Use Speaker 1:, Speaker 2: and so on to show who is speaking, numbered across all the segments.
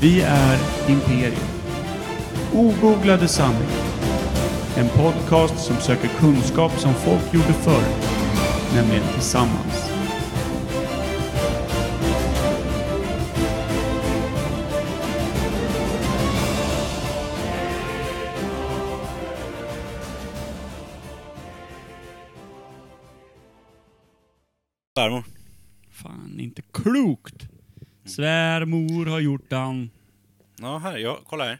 Speaker 1: Vi är Imperium. Ogooglade sanningar. En podcast som söker kunskap som folk gjorde förr, nämligen tillsammans.
Speaker 2: Svärmor.
Speaker 1: Fan, inte klokt! Svärmor har gjort han.
Speaker 2: Ja, här. Ja, kolla här.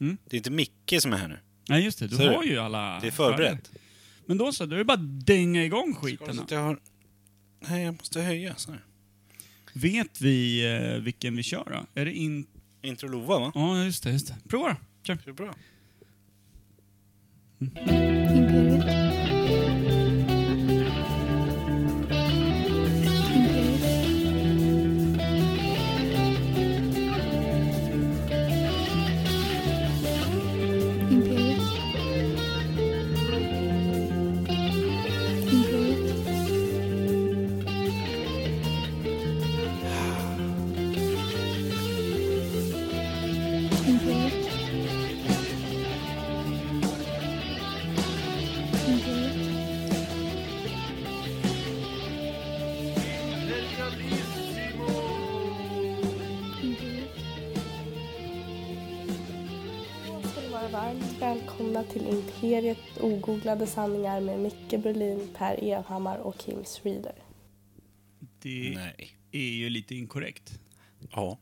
Speaker 1: Mm.
Speaker 2: Det är inte Micke som är här nu.
Speaker 1: Nej just det, du
Speaker 2: Ser du?
Speaker 1: har ju alla...
Speaker 2: Det är förberett.
Speaker 1: Men då så, då är det bara att dänga igång skiten.
Speaker 2: Så att jag har... Nej, jag måste höja. Så här.
Speaker 1: Vet vi eh, vilken vi kör då? Är det in...
Speaker 2: Intro Lova, va?
Speaker 1: Ja, just det, just det. Prova då. Kör.
Speaker 2: Det är bra.
Speaker 3: Imperiet. Imperiet. Imperiet. Imperiet. Imperiet. Imperiet. Imperiet.
Speaker 4: ska ni vara varmt välkomna till Imperiet ogooglade sanningar med Micke Berlin, Per Evhammar och Kim Schreeder.
Speaker 1: Det
Speaker 2: Nej.
Speaker 1: är ju lite inkorrekt.
Speaker 2: Ja.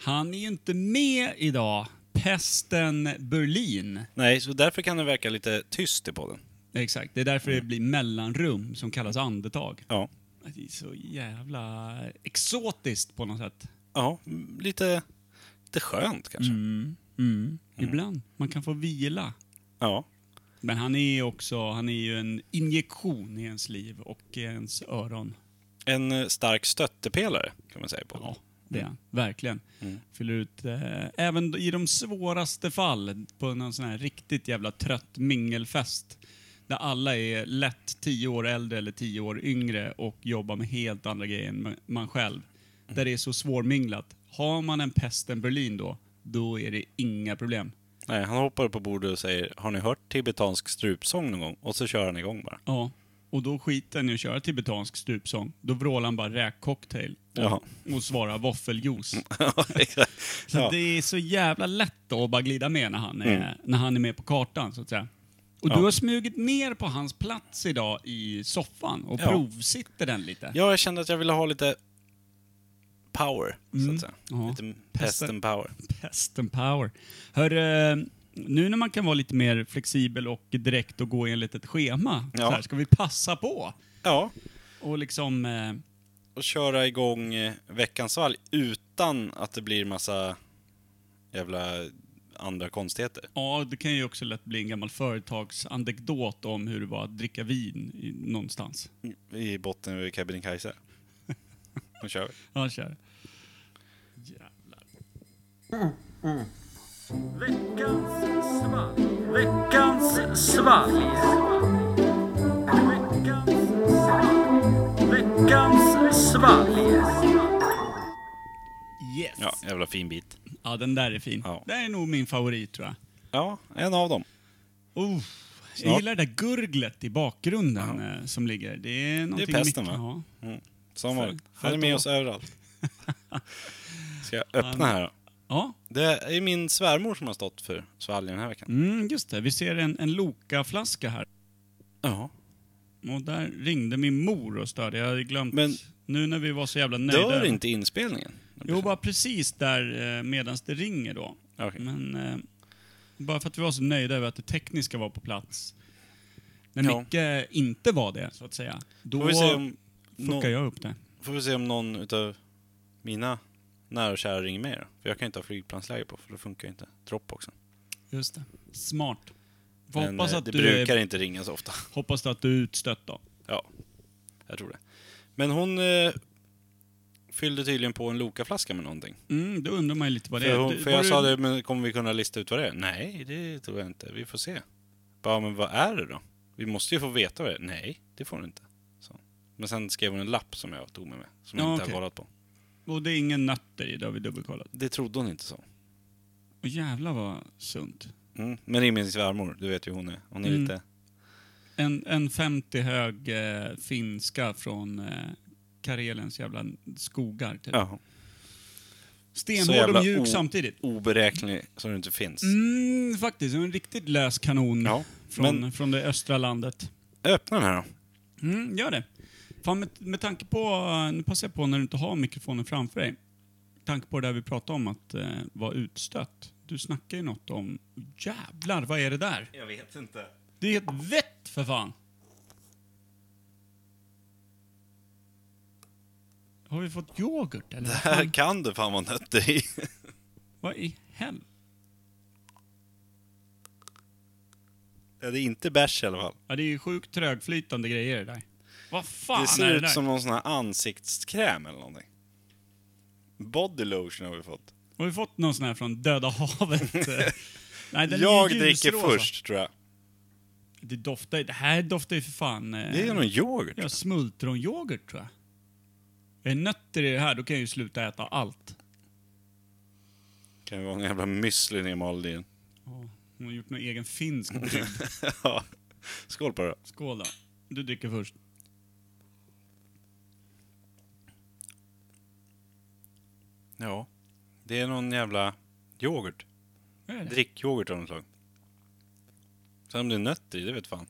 Speaker 1: Han är ju inte med idag. Pesten Berlin.
Speaker 2: Nej, så därför kan det verka lite tyst i podden.
Speaker 1: Exakt, det är därför
Speaker 2: Mm.
Speaker 1: det blir mellanrum som kallas andetag.
Speaker 2: Ja.
Speaker 1: Det är så jävla exotiskt på något sätt.
Speaker 2: Ja, mm, lite... Lite skönt kanske.
Speaker 1: Mm.
Speaker 2: Mm.
Speaker 1: Ibland. Man kan få vila.
Speaker 2: Ja.
Speaker 1: Men han är också, han är ju en injektion i ens liv och i ens öron.
Speaker 2: En eh, stark stöttepelare, kan man säga på
Speaker 1: Ja, det är han. Verkligen. Fyller ut, eh, även i de svåraste fall, på någon sån här riktigt jävla trött mingelfest, där alla är lätt tio år äldre eller tio år yngre och jobbar med helt andra grejer än ma- man själv. Där det är så svårminglat. Har man en pesten Berlin då, då är det inga problem.
Speaker 2: Nej, han hoppar upp på bordet och säger Har ni hört tibetansk strupsång någon gång? Och så kör han igång bara.
Speaker 1: Ja. Och då skiter han i att köra tibetansk strupsång. Då vrålar han bara räkcocktail
Speaker 2: Ja.
Speaker 1: och, och svarar våffeljuice.
Speaker 2: ja, exakt.
Speaker 1: Så
Speaker 2: Ja. Mm.
Speaker 1: det är så jävla lätt då att bara glida med när han är, när han är med på kartan, så att säga. Och
Speaker 2: Ja.
Speaker 1: du har smugit ner på hans plats idag i soffan och
Speaker 2: Ja.
Speaker 1: provsitter den lite.
Speaker 2: ja, jag kände att jag ville ha lite power, så att säga.
Speaker 1: Ja.
Speaker 2: Lite pest and power.
Speaker 1: Pest and power. Hör, eh, nu när man kan vara lite mer flexibel och direkt och gå enligt ett schema,
Speaker 2: Ja.
Speaker 1: så här, ska vi passa på
Speaker 2: Ja,
Speaker 1: och liksom... Eh,
Speaker 2: och köra igång eh, veckans valg utan att det blir massa jävla andra konstigheter.
Speaker 1: Ja, det kan ju också lätt bli en gammal företagsanekdot om hur det var att dricka vin i, någonstans.
Speaker 2: I botten vid Kebnekaise. Nu kör vi.
Speaker 1: Ja, kör.
Speaker 5: Veckans svalg. Veckans svalg. Veckans svalg.
Speaker 1: Yes!
Speaker 2: Ja, jävla fin bit.
Speaker 1: Ja, den där är fin.
Speaker 2: Ja.
Speaker 1: Det är nog min favorit tror jag.
Speaker 2: Ja, en av dem.
Speaker 1: Oh, jag
Speaker 2: Snart.
Speaker 1: gillar det där gurglet i bakgrunden eh, som ligger. Det är, någonting
Speaker 2: pesten,
Speaker 1: mycket-
Speaker 2: va?
Speaker 1: Ja.
Speaker 2: Som
Speaker 1: För-
Speaker 2: vanligt.
Speaker 1: för
Speaker 2: Han är
Speaker 1: att
Speaker 2: med
Speaker 1: då-
Speaker 2: oss överallt. Ska jag öppna här då?
Speaker 1: ja.
Speaker 2: Det är min svärmor som har stått för svalgen den här veckan.
Speaker 1: Mm, just det. Vi ser en, en Loka-flaska här.
Speaker 2: Ja.
Speaker 1: Och där ringde min mor och störde. Jag hade glömt.
Speaker 2: Men-
Speaker 1: nu när vi var så jävla nöjda.
Speaker 2: Dör inte inspelningen?
Speaker 1: Jo, bara precis där eh, medans det ringer då.
Speaker 2: Okej.
Speaker 1: Men eh, bara för att vi var så nöjda över att det tekniska var på plats. När
Speaker 2: Ja.
Speaker 1: Micke inte var det, så att säga, då
Speaker 2: Får vi se om, nå-
Speaker 1: fuckar jag upp det.
Speaker 2: får vi se om någon utav mina nära och kära ringer mig då? För jag kan ju inte ha flygplansläge på, för då funkar ju inte dropboxen.
Speaker 1: Just det. Smart. Får
Speaker 2: Men
Speaker 1: hoppas
Speaker 2: eh,
Speaker 1: att
Speaker 2: det
Speaker 1: du
Speaker 2: brukar
Speaker 1: är,
Speaker 2: inte ringa så ofta.
Speaker 1: hoppas att du är utstött då.
Speaker 2: Ja, jag tror det. Men hon eh, fyllde tydligen på en Loka-flaska med någonting.
Speaker 1: Mm, då undrar man ju lite vad det
Speaker 2: för
Speaker 1: är.
Speaker 2: hon,
Speaker 1: Du-
Speaker 2: för
Speaker 1: var
Speaker 2: jag
Speaker 1: du-
Speaker 2: sa det, men kommer vi kunna lista ut vad det är? Nej, det tror jag inte. Vi får se. Bara, men vad är det då? Vi måste ju få veta vad det är. Nej, det får du inte. Så. Men sen skrev hon en lapp som jag tog med mig, som jag
Speaker 1: Ja,
Speaker 2: inte
Speaker 1: okej.
Speaker 2: har kollat på.
Speaker 1: Och det är ingen nötter i, det har vi dubbelkollat.
Speaker 2: Det trodde hon inte så.
Speaker 1: Och jävlar vad sunt.
Speaker 2: Mm. Men det är min svärmor, du vet ju hur hon är. Hon är
Speaker 1: Mm.
Speaker 2: lite...
Speaker 1: En, en 50 hög eh, finska från eh, Karelens jävla skogar. Typ.
Speaker 2: Ja, Så
Speaker 1: Stenhård
Speaker 2: jävla
Speaker 1: och mjuk
Speaker 2: o-
Speaker 1: samtidigt.
Speaker 2: oberäknelig som det inte finns.
Speaker 1: Mm, faktiskt. En riktigt lös kanon
Speaker 2: Ja,
Speaker 1: från,
Speaker 2: men-
Speaker 1: från det östra landet.
Speaker 2: Öppna den här då.
Speaker 1: Mm, gör det. Fan, med, med tanke på, nu passar jag på när du inte har mikrofonen framför dig, med tanke på det där vi pratade om att eh, vara utstött. Du snackar ju något om, jävlar vad är det där?
Speaker 2: Jag vet inte.
Speaker 1: Det är ett vett för fan! Har vi fått yoghurt eller? vad fan?
Speaker 2: Här kan du fan vara nötter i.
Speaker 1: Vad i helvete?
Speaker 2: Ja, det är inte bärs i alla fall.
Speaker 1: Ja, det är ju sjukt trögflytande grejer det där. Vad fan
Speaker 2: Det
Speaker 1: är
Speaker 2: ser
Speaker 1: det
Speaker 2: ut
Speaker 1: där?
Speaker 2: som någon sån här ansiktskräm eller någonting. Body lotion har vi fått.
Speaker 1: Har vi fått någon sån här från Döda havet? Nej, den är
Speaker 2: Jag
Speaker 1: ju
Speaker 2: dricker
Speaker 1: ljusrosa.
Speaker 2: först tror jag.
Speaker 1: Det doftar ju- det här doftar ju för fan... eh,
Speaker 2: Det är någon yoghurt.
Speaker 1: Ja, smultronyoghurt tror jag. Är det nötter i det här, då kan jag ju sluta äta allt.
Speaker 2: Kan det vara en jävla müsli nermald i den.
Speaker 1: Åh, hon har gjort någon egen finsk brygd.
Speaker 2: Ja. Skål på det då.
Speaker 1: Skål då. Du dricker först.
Speaker 2: Ja. Det är någon jävla yoghurt.
Speaker 1: Vad är det?
Speaker 2: Drickyoghurt av något slag. Sen om det är nötter i, det vet fan.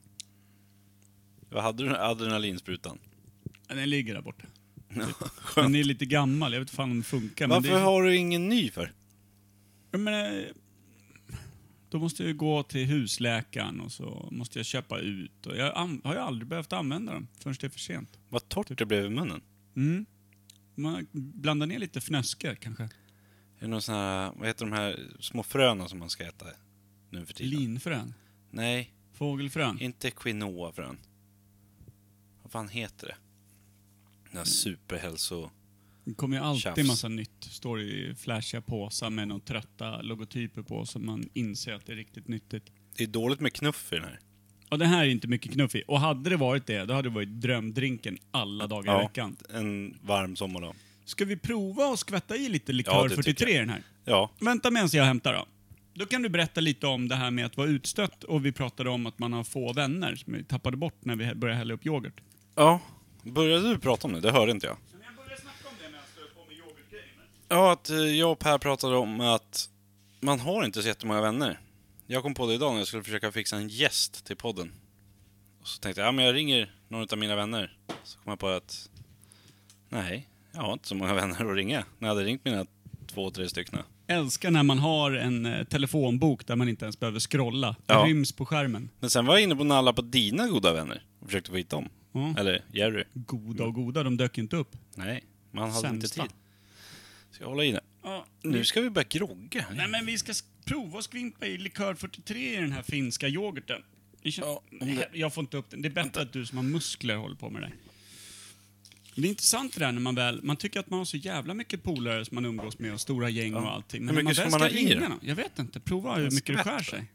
Speaker 2: Vad hade du adrenalinsprutan?
Speaker 1: Ja, Den ligger där borta. Den är lite gammal, jag vet fan om den funkar. men
Speaker 2: Varför
Speaker 1: det är...
Speaker 2: har du ingen ny för?
Speaker 1: Ja, men, eh, då måste jag ju gå till husläkaren och så måste jag köpa ut. Och jag an- har ju aldrig behövt använda dem förrän det är för sent.
Speaker 2: Vad torrt det blev i munnen.
Speaker 1: Mm. Man blandar ner lite fnöskar kanske.
Speaker 2: Är det någon sån här, vad heter de här små fröna som man ska äta nu för tiden?
Speaker 1: Linfrön.
Speaker 2: Nej,
Speaker 1: Fågelfrön.
Speaker 2: inte quinoafrön. Vad fan heter det? Den här superhälso...
Speaker 1: Det kommer ju alltid
Speaker 2: Tjafs.
Speaker 1: massa nytt. Står i flashiga påsar med några trötta logotyper på som man inser att det är riktigt nyttigt.
Speaker 2: Det är dåligt med knuff i den här.
Speaker 1: Och det här är inte mycket knuff i. Och hade det varit det, då hade det varit drömdrinken alla dagar i veckan.
Speaker 2: en varm sommardag.
Speaker 1: Ska vi prova att skvätta i lite
Speaker 2: Ja,
Speaker 1: Likör
Speaker 2: det tycker
Speaker 1: 43 i den här?
Speaker 2: Ja,
Speaker 1: Vänta medan jag hämtar då. Då kan du berätta lite om det här med att vara utstött och vi pratade om att man har få vänner som vi tappade bort när vi började hälla upp yoghurt.
Speaker 2: Ja. Började du prata om det? Det hörde inte jag.
Speaker 1: Jag började snacka om det medan jag på med yoghurtgrejen.
Speaker 2: Ja, att eh, jag och Per pratade om att man har inte så jättemånga vänner. Jag kom på det idag när jag skulle försöka fixa en gäst till podden. Och så tänkte jag, ja men jag ringer någon av mina vänner. Så kom jag på att, nej, jag har inte så många vänner att ringa. När jag hade ringt mina två, tre stycken.
Speaker 1: Älskar när man har en eh, telefonbok där man inte ens behöver scrolla. Det
Speaker 2: Ja.
Speaker 1: ryms på skärmen.
Speaker 2: Men sen var jag inne på Nalla på dina goda vänner och försökte få hit dem.
Speaker 1: Ja.
Speaker 2: Eller Jerry.
Speaker 1: Goda och goda, de dök inte upp.
Speaker 2: Nej, man hade
Speaker 1: Sämsta.
Speaker 2: inte tid. Så jag håller i det.
Speaker 1: Ja.
Speaker 2: Nu ska vi börja grogga.
Speaker 1: Nej men vi ska s- prova att skvimpa i likör 43 i den här finska yoghurten. Det känns...
Speaker 2: Ja, om det-
Speaker 1: Jag får inte upp den. Det är bättre att du som har muskler håller på med det där. Det är intressant det där när man väl, man tycker att man har så jävla mycket polare som man umgås med och stora gäng och allting.
Speaker 2: Hur
Speaker 1: Men när man
Speaker 2: mycket
Speaker 1: väl
Speaker 2: ska man ha i
Speaker 1: ringa någon- Jag vet inte, prova hur mycket det skär sig.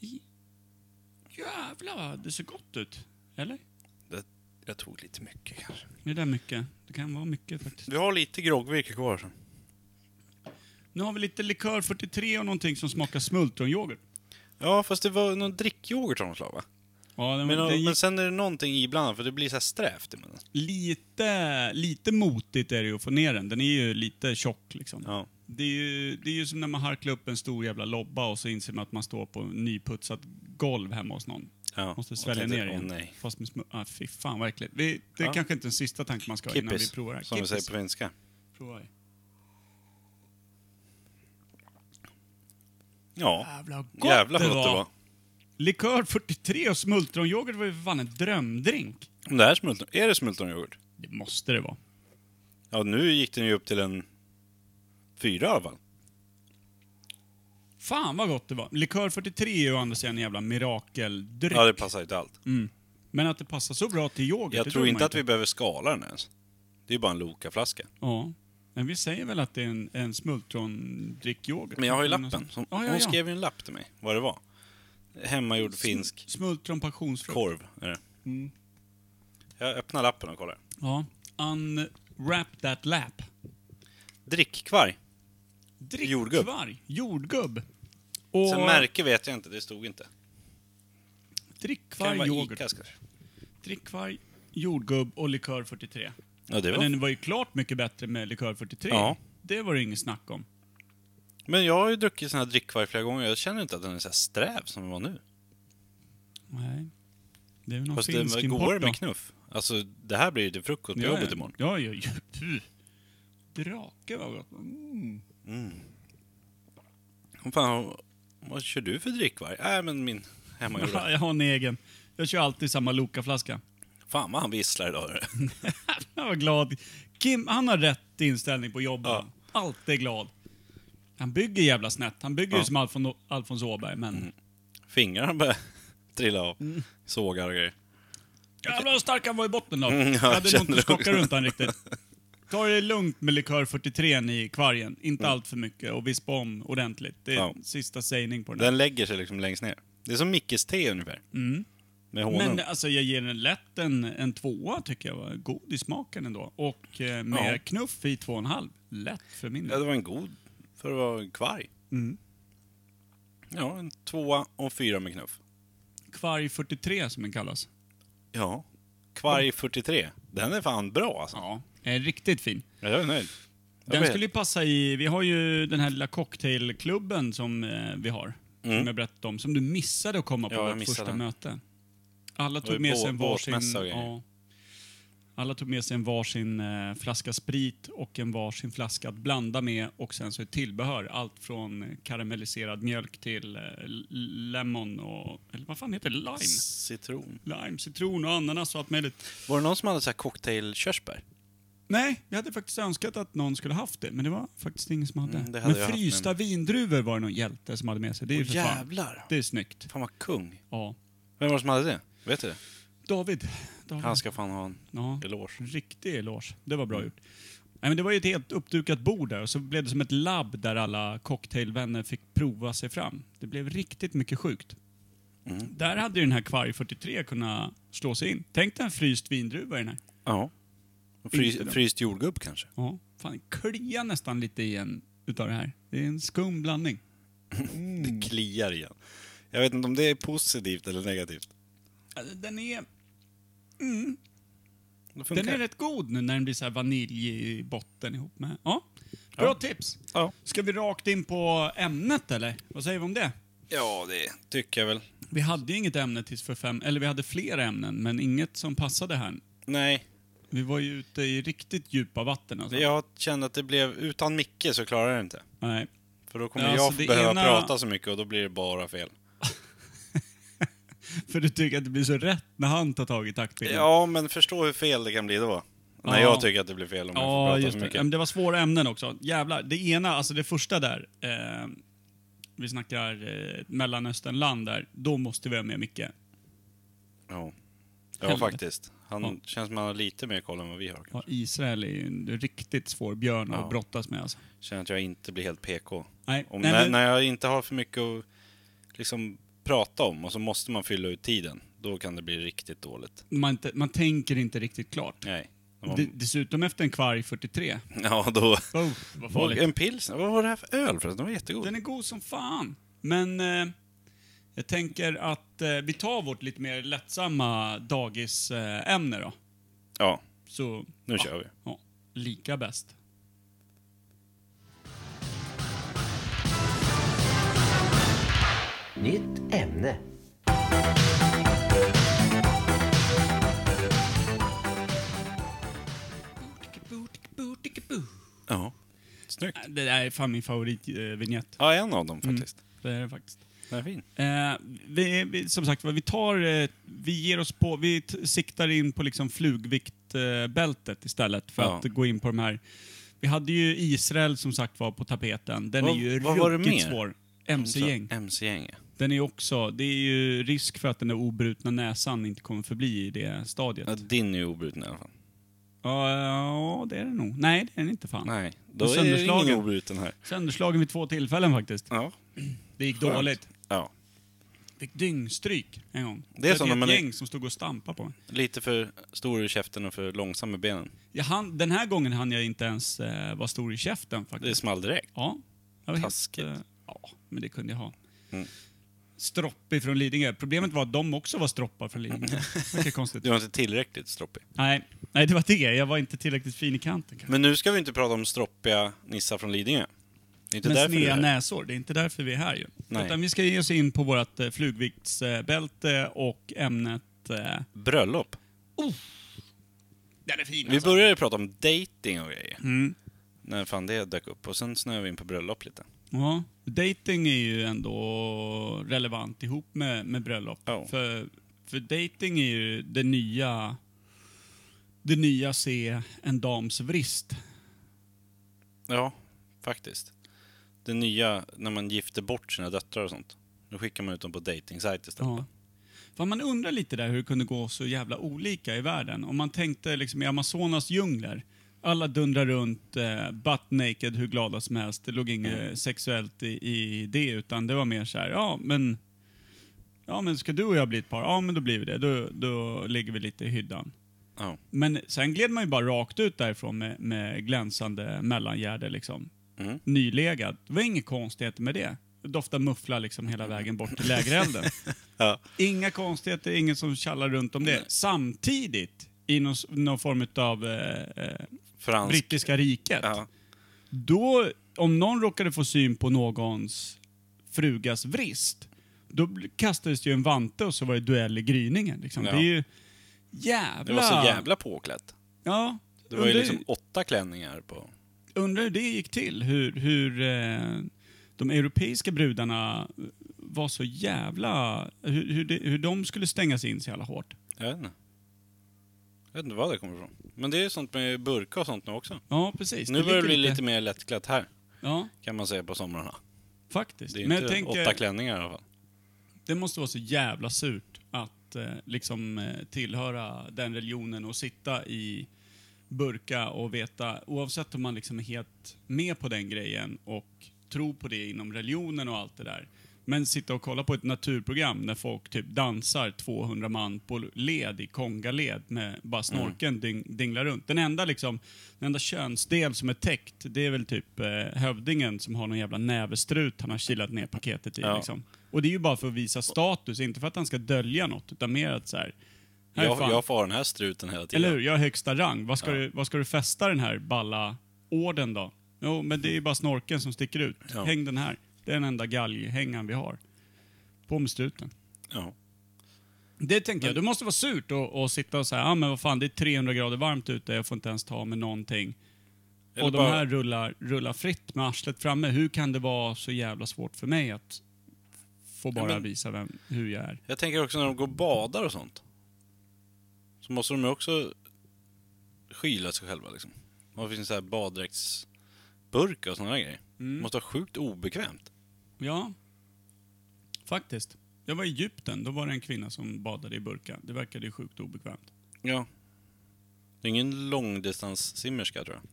Speaker 1: I- Jävlar vad det ser gott ut. Eller?
Speaker 2: Det- Jag tog lite mycket kanske.
Speaker 1: Det där mycket. Det kan vara mycket faktiskt.
Speaker 2: Vi har lite groggvirke kvar sen.
Speaker 1: Nu har vi lite likör 43 och någonting som smakar smultronyoghurt.
Speaker 2: Ja, fast det var någon drickyoghurt av något slag va?
Speaker 1: Ja, den,
Speaker 2: Men,
Speaker 1: den gick
Speaker 2: men sen är det någonting ibland för det blir så här strävt i munnen.
Speaker 1: lite, lite motigt är det ju att få ner den. Den är ju lite tjock liksom.
Speaker 2: Ja.
Speaker 1: Det, är ju, det är ju som när man harklar upp en stor jävla lobba och så inser man att man står på nyputsat golv hemma hos någon.
Speaker 2: Ja,
Speaker 1: Måste
Speaker 2: och
Speaker 1: svälja
Speaker 2: tänkte,
Speaker 1: ner
Speaker 2: åh,
Speaker 1: igen.
Speaker 2: nej.
Speaker 1: Fast med smu- ah, fy fan vad äckligt. Det, det är
Speaker 2: Ja.
Speaker 1: kanske inte den sista tanken man ska ha innan vi
Speaker 2: Kippis,
Speaker 1: provar. det här.
Speaker 2: som vi
Speaker 1: Kippis.
Speaker 2: säger på finska.
Speaker 1: Prova det.
Speaker 2: Ja,
Speaker 1: Jävlar vad gott
Speaker 2: jävlar
Speaker 1: det
Speaker 2: vad gott
Speaker 1: var.
Speaker 2: det var.
Speaker 1: Likör 43 och smultronyoghurt var ju för fan en drömdrink.
Speaker 2: Om det här är smultron, är det smultronyoghurt?
Speaker 1: Det måste det vara.
Speaker 2: Ja, nu gick den ju upp till en fyra i alla fall.
Speaker 1: Fan vad gott det var. Likör 43 är ju å andra sidan en jävla mirakeldryck.
Speaker 2: Ja, det passar ju till allt.
Speaker 1: Men att det passar så bra till yoghurt,
Speaker 2: Jag
Speaker 1: Mm, det
Speaker 2: tror
Speaker 1: man
Speaker 2: inte att vi behöver skala den ens. Det är ju bara en Loka-flaska.
Speaker 1: Ja. Men vi säger väl att det är en, en smultrondrickyoghurt.
Speaker 2: Men jag har ju
Speaker 1: Eller något
Speaker 2: lappen.
Speaker 1: sånt.
Speaker 2: Som,
Speaker 1: Mm, alltså. ja, ja,
Speaker 2: Hon
Speaker 1: ja.
Speaker 2: skrev ju en lapp till mig, vad det var. Hemmagjord finsk
Speaker 1: Smultron passionsfrukt.
Speaker 2: korv är det.
Speaker 1: Mm.
Speaker 2: Jag öppnar lappen och kollar.
Speaker 1: Ja. Unwrap that lap.
Speaker 2: Drickkvarg. Jordgubb.
Speaker 1: Drickkvarg. Jordgubb. Och
Speaker 2: Sen märke vet jag inte, det stod inte. Kan
Speaker 1: drickkvarg,
Speaker 2: vara
Speaker 1: yoghurt.
Speaker 2: Icas kanske.
Speaker 1: Drickkvarg, jordgubb och likör 43.
Speaker 2: Ja, det
Speaker 1: Men
Speaker 2: var...
Speaker 1: den var ju klart mycket bättre med likör 43.
Speaker 2: Ja.
Speaker 1: Det var det inget snack om.
Speaker 2: Men jag har ju druckit sån här drickkvarg flera gånger. Jag känner inte att den är så här sträv som den var nu.
Speaker 1: Nej. Det är väl någon
Speaker 2: Fast
Speaker 1: finsk
Speaker 2: det
Speaker 1: import
Speaker 2: går
Speaker 1: då.
Speaker 2: med knuff. Alltså, det här blir ju till frukost på jobbet imorgon.
Speaker 1: Ja, ja, ja. Puh. Drake var gott. Mm.
Speaker 2: Vad fan, vad kör du för drickkvarg? Nej, men min hemmagjorda.
Speaker 1: Jag har en egen. Jag kör alltid samma Loka-flaska.
Speaker 2: Fan vad han visslar idag. hörru.
Speaker 1: Jag var glad. Kim, han har rätt inställning på jobbet.
Speaker 2: Ja.
Speaker 1: Alltid glad. Han bygger jävla snett. Han bygger ju
Speaker 2: Ja. Mm.
Speaker 1: som Alfon, Alfons Åberg, men...
Speaker 2: Fingrarna börjar trilla av.
Speaker 1: Mm.
Speaker 2: Sågar och grejer.
Speaker 1: Jävlar vad stark han var i botten då.
Speaker 2: Mm,
Speaker 1: jag
Speaker 2: jag
Speaker 1: hade nog
Speaker 2: känner
Speaker 1: inte
Speaker 2: det
Speaker 1: skakat
Speaker 2: också.
Speaker 1: runt han riktigt. Ta det lugnt med likör 43 i kvargen. Inte allt för mycket och vispa om ordentligt. Det är
Speaker 2: Mm. Ja.
Speaker 1: sista sägning på den.
Speaker 2: Den lägger sig liksom längst ner. Det är som Mickes te ungefär. Med honung.
Speaker 1: Mm. Men alltså jag ger den lätt en, en tvåa tycker jag var god i smaken ändå. Och eh, med
Speaker 2: Ja.
Speaker 1: knuff i två och en halv. Lätt för min
Speaker 2: Ja,
Speaker 1: del.
Speaker 2: det var en god för att vara en kvarg. Ja, en tvåa och fyra med knuff.
Speaker 1: Kvarg 43 som den kallas.
Speaker 2: Ja. Kvarg 43. Den är fan bra alltså.
Speaker 1: Ja. Är Eh, riktigt fin.
Speaker 2: Ja, Jag är nöjd. Jag
Speaker 1: Den
Speaker 2: vet.
Speaker 1: skulle ju passa i, vi har ju den här lilla cocktailklubben som eh, vi har. Som jag berättade om, som du missade att komma på
Speaker 2: Mm. Ja, jag
Speaker 1: vårt
Speaker 2: missade
Speaker 1: första
Speaker 2: den.
Speaker 1: möte. Alla
Speaker 2: var
Speaker 1: tog
Speaker 2: ju
Speaker 1: med
Speaker 2: bå-
Speaker 1: sig en varsin...
Speaker 2: båsmässa och grejer.
Speaker 1: Ja, alla tog med sig en varsin eh, flaska sprit och en varsin flaska att blanda med och sen så ett tillbehör. Allt från karamelliserad mjölk till eh, l- lemon och... Eller vad fan heter det? Lime?
Speaker 2: Citron.
Speaker 1: Lime, citron och ananas och allt möjligt.
Speaker 2: Var det någon som hade så här cocktailkörsbär?
Speaker 1: Nej, vi hade faktiskt önskat att någon skulle haft det, men det var faktiskt ingen som hade.
Speaker 2: Mm, det hade jag
Speaker 1: men
Speaker 2: haft,
Speaker 1: frysta vindruvor var det någon hjälte som hade med sig. Det är ju
Speaker 2: Åh,
Speaker 1: för fan.
Speaker 2: jävlar.
Speaker 1: Det är snyggt.
Speaker 2: Fan vad kung.
Speaker 1: Ja.
Speaker 2: Vem var det som hade det? Vet du det?
Speaker 1: David. David.
Speaker 2: Han ska fan ha en
Speaker 1: ja.
Speaker 2: eloge. Mm.
Speaker 1: Riktig eloge. Det var bra gjort. Nej, men det var ju ett helt uppdukat bord där och så blev det som ett labb där alla cocktailvänner fick prova sig fram. Det blev riktigt mycket sjukt.
Speaker 2: Mm.
Speaker 1: Där hade ju den här Kvarg 43 kunnat slå sig in. Tänk dig en fryst vindruva i den här.
Speaker 2: Ja.
Speaker 1: Inte
Speaker 2: Fry,
Speaker 1: den.
Speaker 2: fryst jordgubb kanske?
Speaker 1: Ja, fan kliar nästan lite igen utav det här. Det är en skum blandning.
Speaker 2: Det kliar igen. Jag vet inte om det är positivt eller negativt.
Speaker 1: Alltså, Den är,
Speaker 2: Det funkar.
Speaker 1: den är rätt god nu när den blir så här vanilj i botten ihop med. Ja, bra tips.
Speaker 2: Ja.
Speaker 1: Ska vi rakt in på ämnet eller? Vad säger vi om det?
Speaker 2: ja, det tycker jag väl.
Speaker 1: Vi hade ju inget ämne tills för fem, eller vi hade flera ämnen, men inget som passade här.
Speaker 2: Nej,
Speaker 1: Vi var ju ute i riktigt djupa vatten alltså.
Speaker 2: jag kände att det blev... Utan Micke så klarar jag det inte.
Speaker 1: Nej.
Speaker 2: För då kommer
Speaker 1: Ja, alltså,
Speaker 2: jag
Speaker 1: det
Speaker 2: behöva
Speaker 1: ena- Mm.
Speaker 2: prata så mycket och då blir det bara fel.
Speaker 1: För du tycker att det blir så rätt när han tar tag i taktpinnen?
Speaker 2: Ja, men förstå hur fel det kan bli då. När
Speaker 1: Ja.
Speaker 2: jag tycker att det blir fel om jag får
Speaker 1: Ja,
Speaker 2: prata
Speaker 1: just
Speaker 2: så
Speaker 1: det.
Speaker 2: mycket.
Speaker 1: Ja, men det var svåra ämnen också. Jävlar. Det ena, alltså det första där. Eh, vi snackar eh, Mellanösternland där. Då måste vi ha med Micke.
Speaker 2: Ja, ja
Speaker 1: Helvete.
Speaker 2: faktiskt. Han
Speaker 1: Ja.
Speaker 2: känns som han har lite mer koll än vad vi har.
Speaker 1: Ja, Israel är ju en riktigt svår björn att
Speaker 2: Ja.
Speaker 1: brottas med alltså.
Speaker 2: Känner att jag inte blir helt PK.
Speaker 1: Nej,
Speaker 2: Om,
Speaker 1: nej,
Speaker 2: när,
Speaker 1: men-
Speaker 2: när jag inte har för mycket att liksom, prata om och så måste man fylla ut tiden, då kan det bli riktigt dåligt.
Speaker 1: Man, inte, man tänker inte riktigt klart.
Speaker 2: Nej. När Man,
Speaker 1: De, dessutom efter en kvarg 43.
Speaker 2: Ja, då...
Speaker 1: Oh, vad
Speaker 2: Och
Speaker 1: farligt.
Speaker 2: en pilsner. Vad var det här för öl förresten? Den var jättegod.
Speaker 1: Den är god som fan. Men eh, jag tänker att eh, vi tar vårt lite mer lättsamma dagisämne eh, ämne då.
Speaker 2: Ja,
Speaker 1: Så,
Speaker 2: nu
Speaker 1: ja,
Speaker 2: kör vi.
Speaker 1: ja, lika bäst.
Speaker 6: Nytt ämne.
Speaker 2: Ja. Snyggt.
Speaker 1: Det där är fan min favoritvinjett.
Speaker 2: Ja, en av dem faktiskt.
Speaker 1: Det är det faktiskt.
Speaker 2: Den är fin.
Speaker 1: Eh, vi, vi, som sagt var, vi tar, eh, vi ger oss på, vi t- siktar in på liksom flugviktbältet eh, bältet istället för
Speaker 2: Ja.
Speaker 1: att gå in på de här. Vi hade ju Israel som sagt var på tapeten. Den
Speaker 2: Vad-
Speaker 1: är ju
Speaker 2: vad var det
Speaker 1: ruggigt
Speaker 2: mer?
Speaker 1: svår. MC-gäng.
Speaker 2: MC-gäng, ja.
Speaker 1: Den är också, det är ju risk för att den där obrutna näsan inte kommer förbli i det
Speaker 2: ja.
Speaker 1: stadiet.
Speaker 2: Din är ju obruten i alla fall.
Speaker 1: Ja, ja, det är den nog. Nej, det är den inte fan.
Speaker 2: Nej, då
Speaker 1: Och
Speaker 2: är det
Speaker 1: sönderslagen.
Speaker 2: ingen obruten här.
Speaker 1: Sönderslagen vid två tillfällen faktiskt.
Speaker 2: Ja.
Speaker 1: Det gick
Speaker 2: Skönt.
Speaker 1: dåligt.
Speaker 2: Ja.
Speaker 1: Fick dyngstryk en gång.
Speaker 2: Det är som när
Speaker 1: ett
Speaker 2: man är-
Speaker 1: gäng som stod och stampade på mig.
Speaker 2: Lite för stor i käften och för långsam med benen.
Speaker 1: Jag hann, den här gången hann jag inte ens eh, vara stor i käften
Speaker 2: Det
Speaker 1: faktiskt.
Speaker 2: small direkt.
Speaker 1: Ja. Jag var
Speaker 2: Taskigt.
Speaker 1: Helt, eh, ja, men det kunde jag ha.
Speaker 2: Mm.
Speaker 1: Stroppig från Lidingö. Problemet var att de också var stroppar från
Speaker 2: Mm.
Speaker 1: Lidingö. Vilket konstigt.
Speaker 2: Du var inte tillräckligt stroppig.
Speaker 1: Nej, nej, det var det. Jag var inte tillräckligt fin i kanten kanske.
Speaker 2: Men nu ska vi inte prata om stroppiga nissar från Lidingö. Det är inte
Speaker 1: Med
Speaker 2: därför du är
Speaker 1: sneda
Speaker 2: här.
Speaker 1: näsor. Det är inte därför vi är här ju.
Speaker 2: Nej.
Speaker 1: Utan vi ska ge oss in på vårt eh, flugviktsbälte och ämnet... Eh,
Speaker 2: Bröllop.
Speaker 1: den är fin
Speaker 2: Vi
Speaker 1: alltså.
Speaker 2: började prata om dating och grejer.
Speaker 1: Mm.
Speaker 2: När fan det dök upp. Och sen snöade vi in på bröllop lite.
Speaker 1: Ja, dating är ju ändå relevant ihop med, med bröllop.
Speaker 2: Ja.
Speaker 1: För, för dating är ju det nya... Det nya se en dams vrist.
Speaker 2: Ja, faktiskt. Det nya när man gifter bort sina döttrar och sånt. Då skickar man ut dem på dating-sajt istället.
Speaker 1: Ja. Fan, man undrar lite där hur det kunde gå så jävla olika i världen. Om man tänkte liksom i Amazonas djungler. Alla dundrar runt, eh, butt naked, hur glada som helst. Det låg inget sexuellt i, i det, utan det var mer så här, ja men... Ja men ska du och jag bli ett par? Ja men då blir vi det. Då, då ligger vi lite i hyddan.
Speaker 2: Ja.
Speaker 1: Men sen gled man ju bara rakt ut därifrån med, med glänsande mellangärde liksom.
Speaker 2: Mm.
Speaker 1: Nylegad. Det var inga konstigheter med det. Det doftade muffla liksom hela vägen bort till lägerelden.
Speaker 2: Ja.
Speaker 1: Inga konstigheter, ingen som tjallar runt om det.
Speaker 2: Nej.
Speaker 1: Samtidigt, i någon, någon form av eh, eh,
Speaker 2: Fransk.
Speaker 1: brittiska riket,
Speaker 2: Ja.
Speaker 1: då, om någon råkade få syn på någons frugas vrist, då bl- kastades det ju en vante och så var det duell i gryningen. Liksom.
Speaker 2: Ja.
Speaker 1: Det är ju jävla...
Speaker 2: Det var så jävla påklätt.
Speaker 1: Ja.
Speaker 2: Det var ju
Speaker 1: undrar-
Speaker 2: liksom åtta klänningar på...
Speaker 1: undrar hur det gick till. Hur, hur eh, de europeiska brudarna eh, var så jävla... Hur, hur, det, hur de skulle stängas in så jävla hårt.
Speaker 2: Jag vet inte. Jag vet inte var det kommer ifrån. Men det är ju sånt med burka och sånt nu också.
Speaker 1: Ja, precis.
Speaker 2: Nu börjar det
Speaker 1: ligger
Speaker 2: bli lite mer lättklätt här,
Speaker 1: Ja,
Speaker 2: kan man säga på somrarna.
Speaker 1: faktiskt.
Speaker 2: Det är
Speaker 1: Men
Speaker 2: inte
Speaker 1: jag
Speaker 2: åtta
Speaker 1: tänker,
Speaker 2: klänningar i alla fall.
Speaker 1: det måste vara så jävla surt att eh, liksom eh, tillhöra den religionen och sitta i burka och veta, oavsett om man liksom är helt med på den grejen och tror på det inom religionen och allt det där. Men sitta och kolla på ett naturprogram när folk typ dansar 200 man på led i Kongaled med
Speaker 2: Mm.
Speaker 1: bara snorken ding, dinglar runt. Den enda, liksom, den enda könsdel som är täckt, det är väl typ eh, hövdingen som har någon jävla nävestrut han har kilat ner paketet i.
Speaker 2: Ja.
Speaker 1: Liksom. Och det är ju bara för att visa status, inte för att han ska dölja något, utan mer att så här, här är
Speaker 2: Jag,
Speaker 1: fan-
Speaker 2: jag får ha den här struten hela tiden.
Speaker 1: eller hur? Jag är högsta rang. Vad ska, du, vad ska du fästa den här balla orden då? Jo, men det är ju bara snorken som sticker ut.
Speaker 2: Ja.
Speaker 1: Häng den här. Det är den enda galghängan vi har. På med struten.
Speaker 2: Ja.
Speaker 1: Det tänker jag. Det måste vara surt att, att sitta och säga, ja ah, men vad fan, det är 300 grader varmt ute, jag får inte ens ta med någonting.
Speaker 2: Eller
Speaker 1: och de
Speaker 2: bara-
Speaker 1: här rullar, rullar fritt med arslet framme. Hur kan det vara så jävla svårt för mig att få bara
Speaker 2: men-
Speaker 1: visa vem, hur jag är?
Speaker 2: Jag tänker också när de går och badar och sånt. Så måste de ju också skyla sig själva liksom. Vad finns det så här baddräktsburkar och såna där grejer? Det måste vara sjukt obekvämt.
Speaker 1: Ja, faktiskt. Jag var i Egypten, då var det en kvinna som badade i burka. Det verkade ju sjukt obekvämt.
Speaker 2: Ja. Det är ingen långdistanssimmerska tror jag.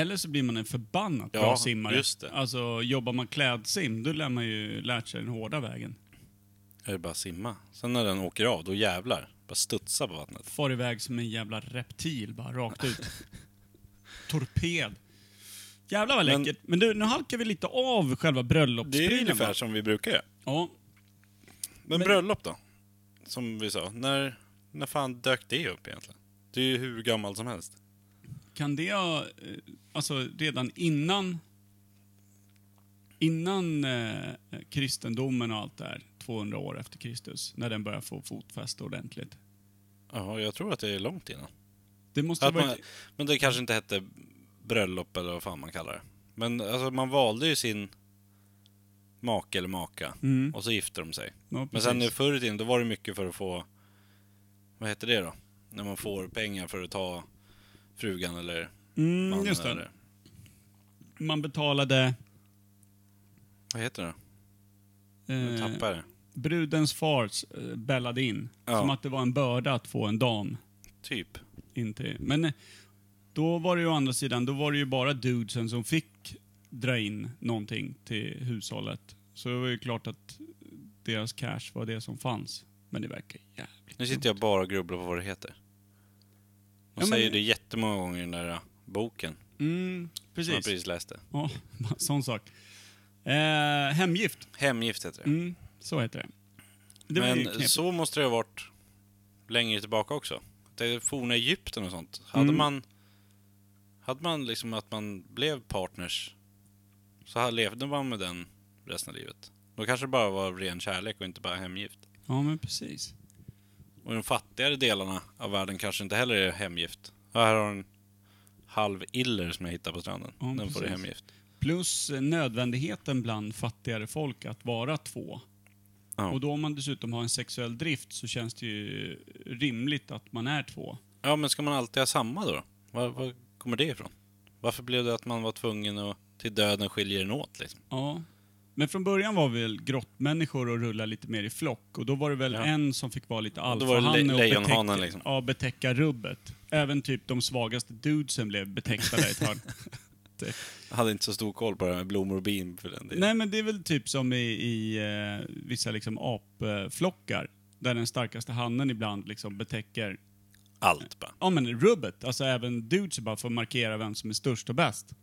Speaker 1: Eller så blir man en förbannat
Speaker 2: Ja,
Speaker 1: bra simmare.
Speaker 2: just det.
Speaker 1: Alltså, jobbar man klädsim, då lär man ju lärt sig den hårda vägen.
Speaker 2: Eller bara simma. Sen när den åker av, då jävlar. Bara studsa på vattnet.
Speaker 1: Far iväg som en jävla reptil, bara rakt ut. Torped. Jävlar vad
Speaker 2: Men-
Speaker 1: läckert. Men du, nu halkar vi lite av själva
Speaker 2: Det är ju
Speaker 1: bröllopsprylen.
Speaker 2: ungefär
Speaker 1: va?
Speaker 2: som vi brukar göra.
Speaker 1: Ja,
Speaker 2: Men, bröllop då? Som vi sa, när, när fan dök det upp egentligen? Det är ju hur gammalt som helst.
Speaker 1: Kan det ha, eh, alltså redan innan, innan eh, kristendomen och allt det här, 200 år efter Kristus, när den börjar få fotfäste ordentligt.
Speaker 2: Ja, jag tror att det är långt innan.
Speaker 1: Det måste ha
Speaker 2: Att man,
Speaker 1: varit,
Speaker 2: men det kanske inte hette bröllop eller vad fan man kallar det. Men alltså, man valde ju sin make eller maka
Speaker 1: Mm.
Speaker 2: och så gifte de sig.
Speaker 1: ja,
Speaker 2: Men
Speaker 1: precis.
Speaker 2: sen nu förr i tiden, då var det mycket för att få... Vad heter det då? När man får pengar för att ta frugan eller
Speaker 1: mm,
Speaker 2: mannen
Speaker 1: just det.
Speaker 2: eller...
Speaker 1: Man betalade
Speaker 2: Vad heter det? Nu
Speaker 1: eh,
Speaker 2: tappar jag det.
Speaker 1: brudens fars eh, bällade in,
Speaker 2: Ja.
Speaker 1: som att det var en börda att få en dam
Speaker 2: Typ.
Speaker 1: in till. Men eh, då var det ju å andra sidan, då var det ju bara dudesen som fick dra in någonting till hushållet. Så det var ju klart att deras cash var det som fanns. Men det verkar jävligt
Speaker 2: Nu sitter jag bara och grubblar på vad det heter. De
Speaker 1: Ja, men-
Speaker 2: säger det jättemånga gånger i den där boken
Speaker 1: Mm,
Speaker 2: som jag
Speaker 1: precis.
Speaker 2: precis läste.
Speaker 1: Ja, sån sak. Eh, hemgift.
Speaker 2: Hemgift heter det.
Speaker 1: Mm, så heter det. Det var ju
Speaker 2: Men
Speaker 1: knepigt.
Speaker 2: så måste det ha varit längre tillbaka också. Det är forna Egypten och sånt. Hade
Speaker 1: Mm.
Speaker 2: man hade man liksom att man blev partners så här levde man med den resten av livet. Då kanske det bara var av ren kärlek och inte bara hemgift.
Speaker 1: Ja, men precis.
Speaker 2: Och i de fattigare delarna av världen kanske inte heller är hemgift. Ja, Här har du en halv iller som jag hittade på stranden.
Speaker 1: Ja,
Speaker 2: den får du
Speaker 1: precis.
Speaker 2: hemgift.
Speaker 1: Plus eh, nödvändigheten bland fattigare folk att vara två.
Speaker 2: Ja.
Speaker 1: Och då om man dessutom har en sexuell drift så känns det ju rimligt att man är två.
Speaker 2: Ja, men ska man alltid ha samma då? Var, var kommer det ifrån? Varför blev det att man var tvungen att till döden skiljer en åt liksom?
Speaker 1: Ja. Men från början var vi väl grottmänniskor och rullade lite mer i flock. Och då var det väl
Speaker 2: Ja.
Speaker 1: en som fick vara lite
Speaker 2: då var det
Speaker 1: alfahanne
Speaker 2: le-
Speaker 1: och
Speaker 2: lejonhanen,
Speaker 1: betäcka,
Speaker 2: liksom.
Speaker 1: ja, betäcka rubbet. Även typ de svagaste dudesen blev betäckta ett tag.
Speaker 2: Jag hade inte så stor koll på det här med blommor och bin för den delen.
Speaker 1: Nej men det är väl typ som i, i eh, vissa liksom apflockar. Där den starkaste hannen ibland liksom betäcker
Speaker 2: Allt bara.
Speaker 1: Ja men rubbet, alltså även dudes bara får markera vem som är störst och bäst.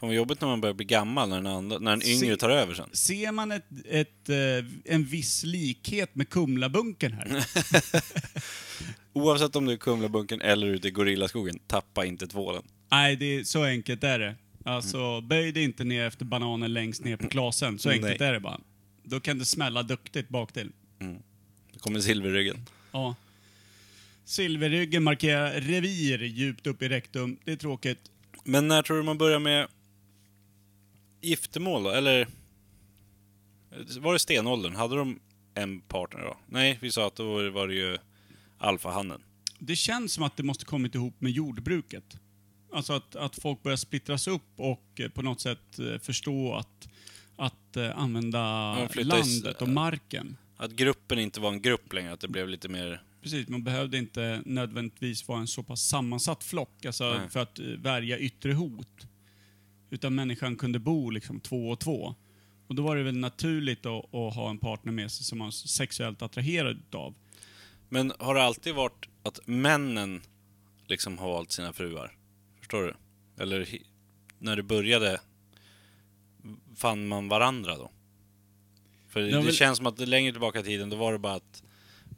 Speaker 2: Fan vad jobbigt när man börjar bli gammal, när den, andra, när den
Speaker 1: Se-
Speaker 2: yngre tar över sen.
Speaker 1: Ser man ett, ett, eh, en viss likhet med Kumlabunken här?
Speaker 2: Oavsett om du är i Kumlabunken eller ute i Gorillaskogen, tappa inte tvålen.
Speaker 1: Nej, det är, så enkelt är det. Alltså, böj dig inte ner efter bananen längst ner på klasen. Så enkelt
Speaker 2: Nej.
Speaker 1: är det bara. Då kan det smälla duktigt baktill.
Speaker 2: Då kommer silverryggen.
Speaker 1: Ja. Silverryggen markerar revir djupt upp i rektum. Det är tråkigt.
Speaker 2: Men när tror du man börjar med giftermål då? Eller var det stenåldern? Hade de en partner då? Nej, vi sa att då var det- var det ju alfahannen.
Speaker 1: Det känns som att det måste kommit ihop med jordbruket. Alltså att, att folk börjar splittras upp och eh, på något sätt eh, förstå att, att eh, använda
Speaker 2: Ja, flytta is-
Speaker 1: landet och marken.
Speaker 2: Att gruppen inte var en grupp längre, att det blev lite mer...
Speaker 1: Precis, man behövde inte nödvändigtvis vara en så pass sammansatt flock alltså
Speaker 2: Nej.
Speaker 1: för att eh, värja yttre hot. Utan människan kunde bo liksom två och två. Och då var det väl naturligt att, att ha en partner med sig som man var sexuellt attraherad utav.
Speaker 2: Men har det alltid varit att männen liksom har valt sina fruar? Förstår du? Eller hi- när det började, fann man varandra då? För det,
Speaker 1: Ja, väl-
Speaker 2: känns som att det längre tillbaka i tiden, då var det bara att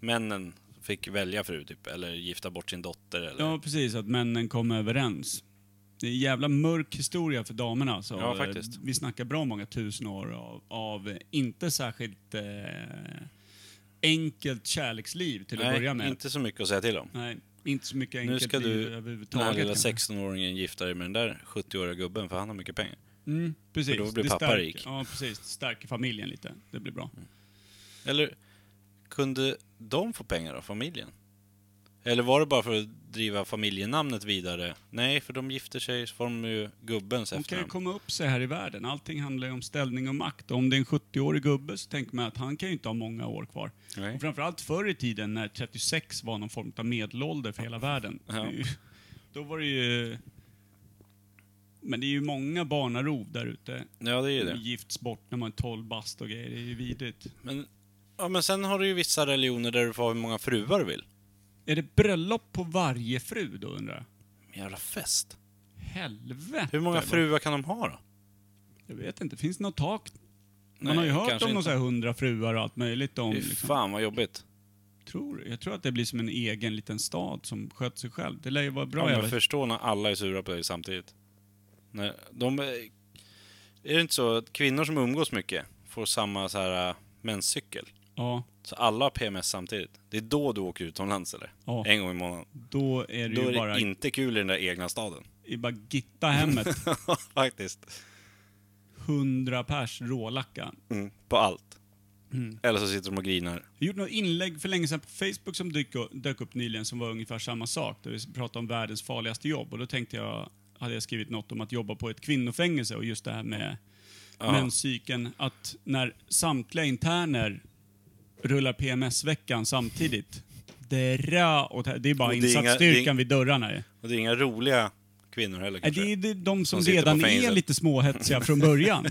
Speaker 2: männen fick välja fru typ, eller gifta bort sin dotter eller...
Speaker 1: Ja, precis. Att männen kom överens. Det är en jävla mörk historia för damerna. Så
Speaker 2: Ja,
Speaker 1: eh,
Speaker 2: faktiskt.
Speaker 1: Vi snackar bra många tusen år av, av eh, inte särskilt eh, enkelt kärleksliv till att
Speaker 2: Nej,
Speaker 1: börja med.
Speaker 2: inte så mycket att säga till om.
Speaker 1: Nej, inte så mycket
Speaker 2: Nu
Speaker 1: enkelt
Speaker 2: ska
Speaker 1: liv
Speaker 2: du, den
Speaker 1: överhuvudtaget.
Speaker 2: här lilla
Speaker 1: kanske.
Speaker 2: 16-åringen, gifta dig med den där 70-åriga gubben, för han har mycket pengar.
Speaker 1: Mm, precis.
Speaker 2: För då blir
Speaker 1: Det
Speaker 2: pappa
Speaker 1: stärker-
Speaker 2: rik.
Speaker 1: Ja, precis. Det stärker familjen lite. Det blir bra.
Speaker 2: Eller kunde de få pengar av familjen? Eller var det bara för att driva familjenamnet vidare? Nej, för de gifter sig så får de ju gubbens
Speaker 1: De kan ju
Speaker 2: efternamn.
Speaker 1: komma upp sig här i världen. Allting handlar ju om ställning och makt. Och om det är en 70-årig gubbe så tänker man att han kan ju inte ha många år kvar.
Speaker 2: Nej.
Speaker 1: Och framförallt förr i tiden när 36 var någon form av medelålder för hela världen.
Speaker 2: Ja.
Speaker 1: Då var det ju... Men det är ju många barnarov där ute.
Speaker 2: Ja, det är ju det.
Speaker 1: Gifts bort när man är 12 bast och grejer. Det är ju vidrigt.
Speaker 2: Men, ja, men sen har du ju vissa religioner där du får ha hur många fruar du vill.
Speaker 1: Är det bröllop på varje fru då undrar jag?
Speaker 2: Men Jävla fest.
Speaker 1: Helvete!
Speaker 2: Hur många
Speaker 1: vad-
Speaker 2: fruar kan de ha då?
Speaker 1: Jag vet inte, finns det något tak?
Speaker 2: Nej,
Speaker 1: Man har ju hört
Speaker 2: kanske
Speaker 1: om någon
Speaker 2: inte.
Speaker 1: så här hundra fruar och allt möjligt. Om,
Speaker 2: Fy
Speaker 1: liksom,
Speaker 2: fan vad jobbigt.
Speaker 1: tror, jag tror att det blir som en egen liten stad som sköter sig själv. Det lär ju vara
Speaker 2: Ja,
Speaker 1: bra.
Speaker 2: men
Speaker 1: jävla-
Speaker 2: förstå när alla är sura på dig samtidigt. När de, eh, är det inte så att kvinnor som umgås mycket får samma så här eh, menscykel?
Speaker 1: ja,
Speaker 2: Så alla har PMS samtidigt. Det är då du åker utomlands eller?
Speaker 1: Ja.
Speaker 2: En gång i månaden.
Speaker 1: då är det
Speaker 2: Då
Speaker 1: ju
Speaker 2: är
Speaker 1: bara,
Speaker 2: det inte kul i den där egna staden.
Speaker 1: det är bara gitta hemmet.
Speaker 2: Faktiskt.
Speaker 1: Hundra pers rålacka.
Speaker 2: Mm. På allt.
Speaker 1: Mm.
Speaker 2: Eller så sitter de och grinar.
Speaker 1: Jag gjorde något inlägg för länge sedan på Facebook som dyk, dök upp nyligen som var ungefär samma sak. Där vi pratade om världens farligaste jobb. Och då tänkte jag, hade jag skrivit något om att jobba på ett kvinnofängelse och just det här med
Speaker 2: Ja.
Speaker 1: menscykeln. Att när samtliga interner rullar PMS-veckan samtidigt. Dra åt här- det är bara
Speaker 2: Och det är inga-
Speaker 1: insatsstyrkan
Speaker 2: det är-
Speaker 1: vid dörrarna. ju.
Speaker 2: Och det är inga roliga kvinnor heller
Speaker 1: Nej,
Speaker 2: kanske.
Speaker 1: Det är det är de som,
Speaker 2: sitter på
Speaker 1: redan är
Speaker 2: fängelset.
Speaker 1: lite småhetsiga från början.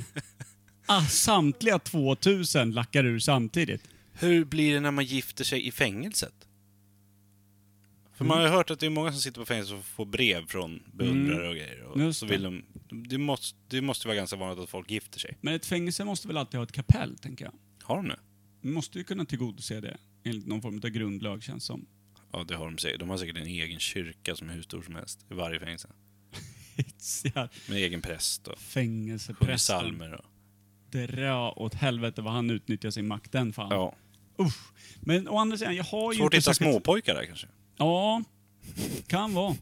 Speaker 1: ah, samtliga 2000 lackar ur samtidigt.
Speaker 2: Hur blir det när man gifter sig i fängelset? För man har
Speaker 1: Mm.
Speaker 2: ju hört att det är många som sitter på fängelse och får brev från beundrare och grejer. Och
Speaker 1: Just
Speaker 2: så
Speaker 1: det.
Speaker 2: vill de, det, måste, det måste vara ganska vanligt att folk gifter sig.
Speaker 1: Men ett fängelse måste väl alltid ha ett kapell, tänker jag.
Speaker 2: Har de det?
Speaker 1: Vi måste ju kunna tillgodose det enligt någon form av grundlag, känns som.
Speaker 2: Ja, det har de säkert. De har säkert en egen kyrka som är hur stor som helst i varje fängelse.
Speaker 1: Hittar
Speaker 2: Med egen präst och sjunger
Speaker 1: Fängelseprästen.
Speaker 2: psalmer och...
Speaker 1: Dra åt helvete vad han utnyttjar sin makt, den fan.
Speaker 2: Ja.
Speaker 1: Usch. Men å andra sidan, jag har ju
Speaker 2: Svårt att hitta
Speaker 1: särskilt-
Speaker 2: småpojkar där kanske.
Speaker 1: Ja, kan vara.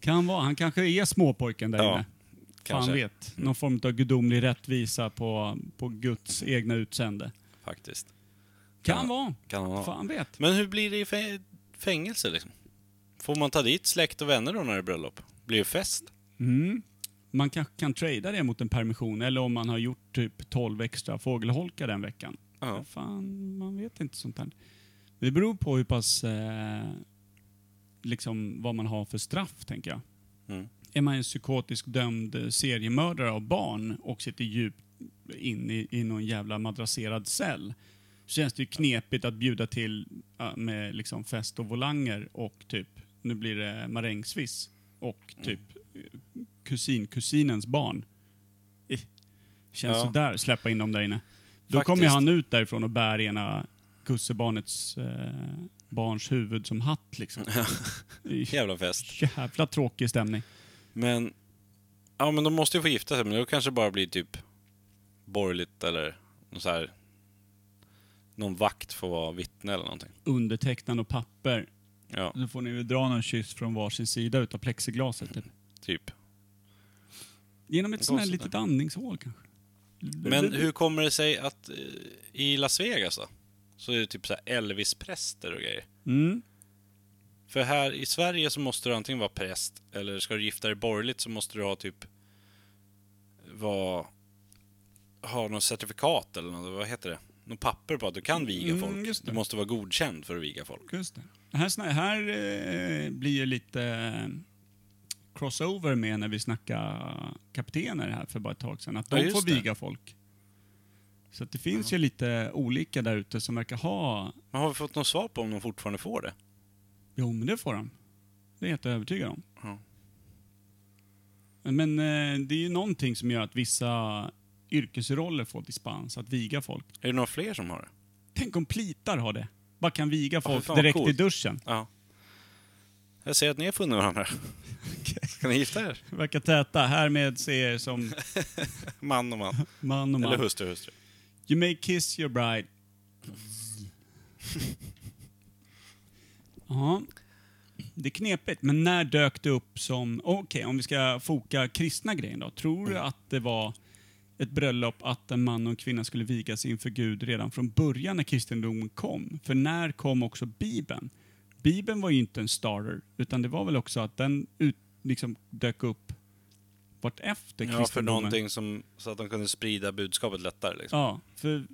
Speaker 1: Kan vara. Han kanske är småpojken där
Speaker 2: Ja,
Speaker 1: inne. Fan
Speaker 2: Kanske. Mm.
Speaker 1: vet. Någon form av gudomlig rättvisa på, på Guds egna utsände.
Speaker 2: Faktiskt.
Speaker 1: Kan
Speaker 2: Ja.
Speaker 1: vara.
Speaker 2: Kan han ha.
Speaker 1: Fan vet.
Speaker 2: Men hur blir det i fä- fängelse liksom? Får man ta dit släkt och vänner då när det är bröllop? Blir det fest?
Speaker 1: Mm. Man kanske kan trada det mot en permission eller om man har gjort typ 12 extra fågelholkar den veckan.
Speaker 2: Ja.
Speaker 1: Fan, man vet inte sånt här. Det beror på hur pass, eh, liksom vad man har för straff tänker jag.
Speaker 2: Mm.
Speaker 1: Är man en psykotisk dömd seriemördare av barn och sitter djupt in i, i någon jävla madrasserad cell så känns det ju knepigt att bjuda till ja, med liksom fest och volanger och typ, nu blir det marängsviss och
Speaker 2: Mm.
Speaker 1: typ eh, kusin, kusinens barn. Eh, Känns
Speaker 2: Ja.
Speaker 1: sådär, släppa in dem där inne. Då
Speaker 2: Faktiskt.
Speaker 1: kommer ju han ut därifrån och bär ena kussebarnets eh, barns huvud som hatt liksom.
Speaker 2: Jävla fest.
Speaker 1: Jävla tråkig stämning.
Speaker 2: Men... Ja, men de måste ju få gifta sig, men då kanske det bara blir typ borgerligt eller någon så här... Någon vakt får vara vittne eller någonting.
Speaker 1: Undertecknande och papper.
Speaker 2: Ja,
Speaker 1: Då får ni väl dra någon kyss från varsin sida utav plexiglaset. Typ.
Speaker 2: typ.
Speaker 1: Genom ett sånt här
Speaker 2: Konstigt,
Speaker 1: litet andningshål kanske.
Speaker 2: Men hur kommer det sig att eh, i Las Vegas då? Så är det typ så här Elvis-präster och grejer.
Speaker 1: Mm.
Speaker 2: För här i Sverige så måste du antingen vara präst eller ska du gifta dig borgerligt så måste du ha typ... Vara... Ha något certifikat eller något, vad heter det? Något papper på att du kan viga
Speaker 1: Mm,
Speaker 2: folk.
Speaker 1: just det.
Speaker 2: Du måste vara godkänd för att viga folk.
Speaker 1: Just det. Det Här, sna- här eh, blir ju lite eh, crossover med när vi snackar kaptener här för bara ett tag sedan. Att
Speaker 2: Ja,
Speaker 1: de
Speaker 2: just
Speaker 1: får
Speaker 2: det.
Speaker 1: viga folk. Så att det finns ju lite olika där ute som verkar ha...
Speaker 2: Men har vi fått något svar på om de fortfarande får det?
Speaker 1: Jo, men det får de. Det är jag helt övertygad om.
Speaker 2: Ja.
Speaker 1: Men eh, det är ju någonting som gör att vissa yrkesroller får dispens att viga folk.
Speaker 2: Är det några fler som har det?
Speaker 1: Tänk om plitar har det. Bara kan viga folk
Speaker 2: fan vad
Speaker 1: direkt i
Speaker 2: coolt.
Speaker 1: duschen.
Speaker 2: Ja. Jag ser att ni har funnit varandra. Ska ni gifta er?
Speaker 1: Verkar täta. Härmed ser er som
Speaker 2: Man och man.
Speaker 1: man och
Speaker 2: Eller
Speaker 1: man.
Speaker 2: hustru och hustru.
Speaker 1: You may kiss your bride. Ja. Det är knepigt, men när dök det upp som... Okej, om vi ska foka kristna grejen då. Tror du att det var ett bröllop att en man och en kvinna skulle vigas inför Gud redan från början när kristendomen kom? För när kom också Bibeln? Bibeln var ju inte en starter, utan det var väl också att den ut, liksom dök upp vartefter
Speaker 2: Ja, för
Speaker 1: kristendomen.
Speaker 2: någonting som, så att de kunde sprida budskapet lättare. Liksom.
Speaker 1: Ja, för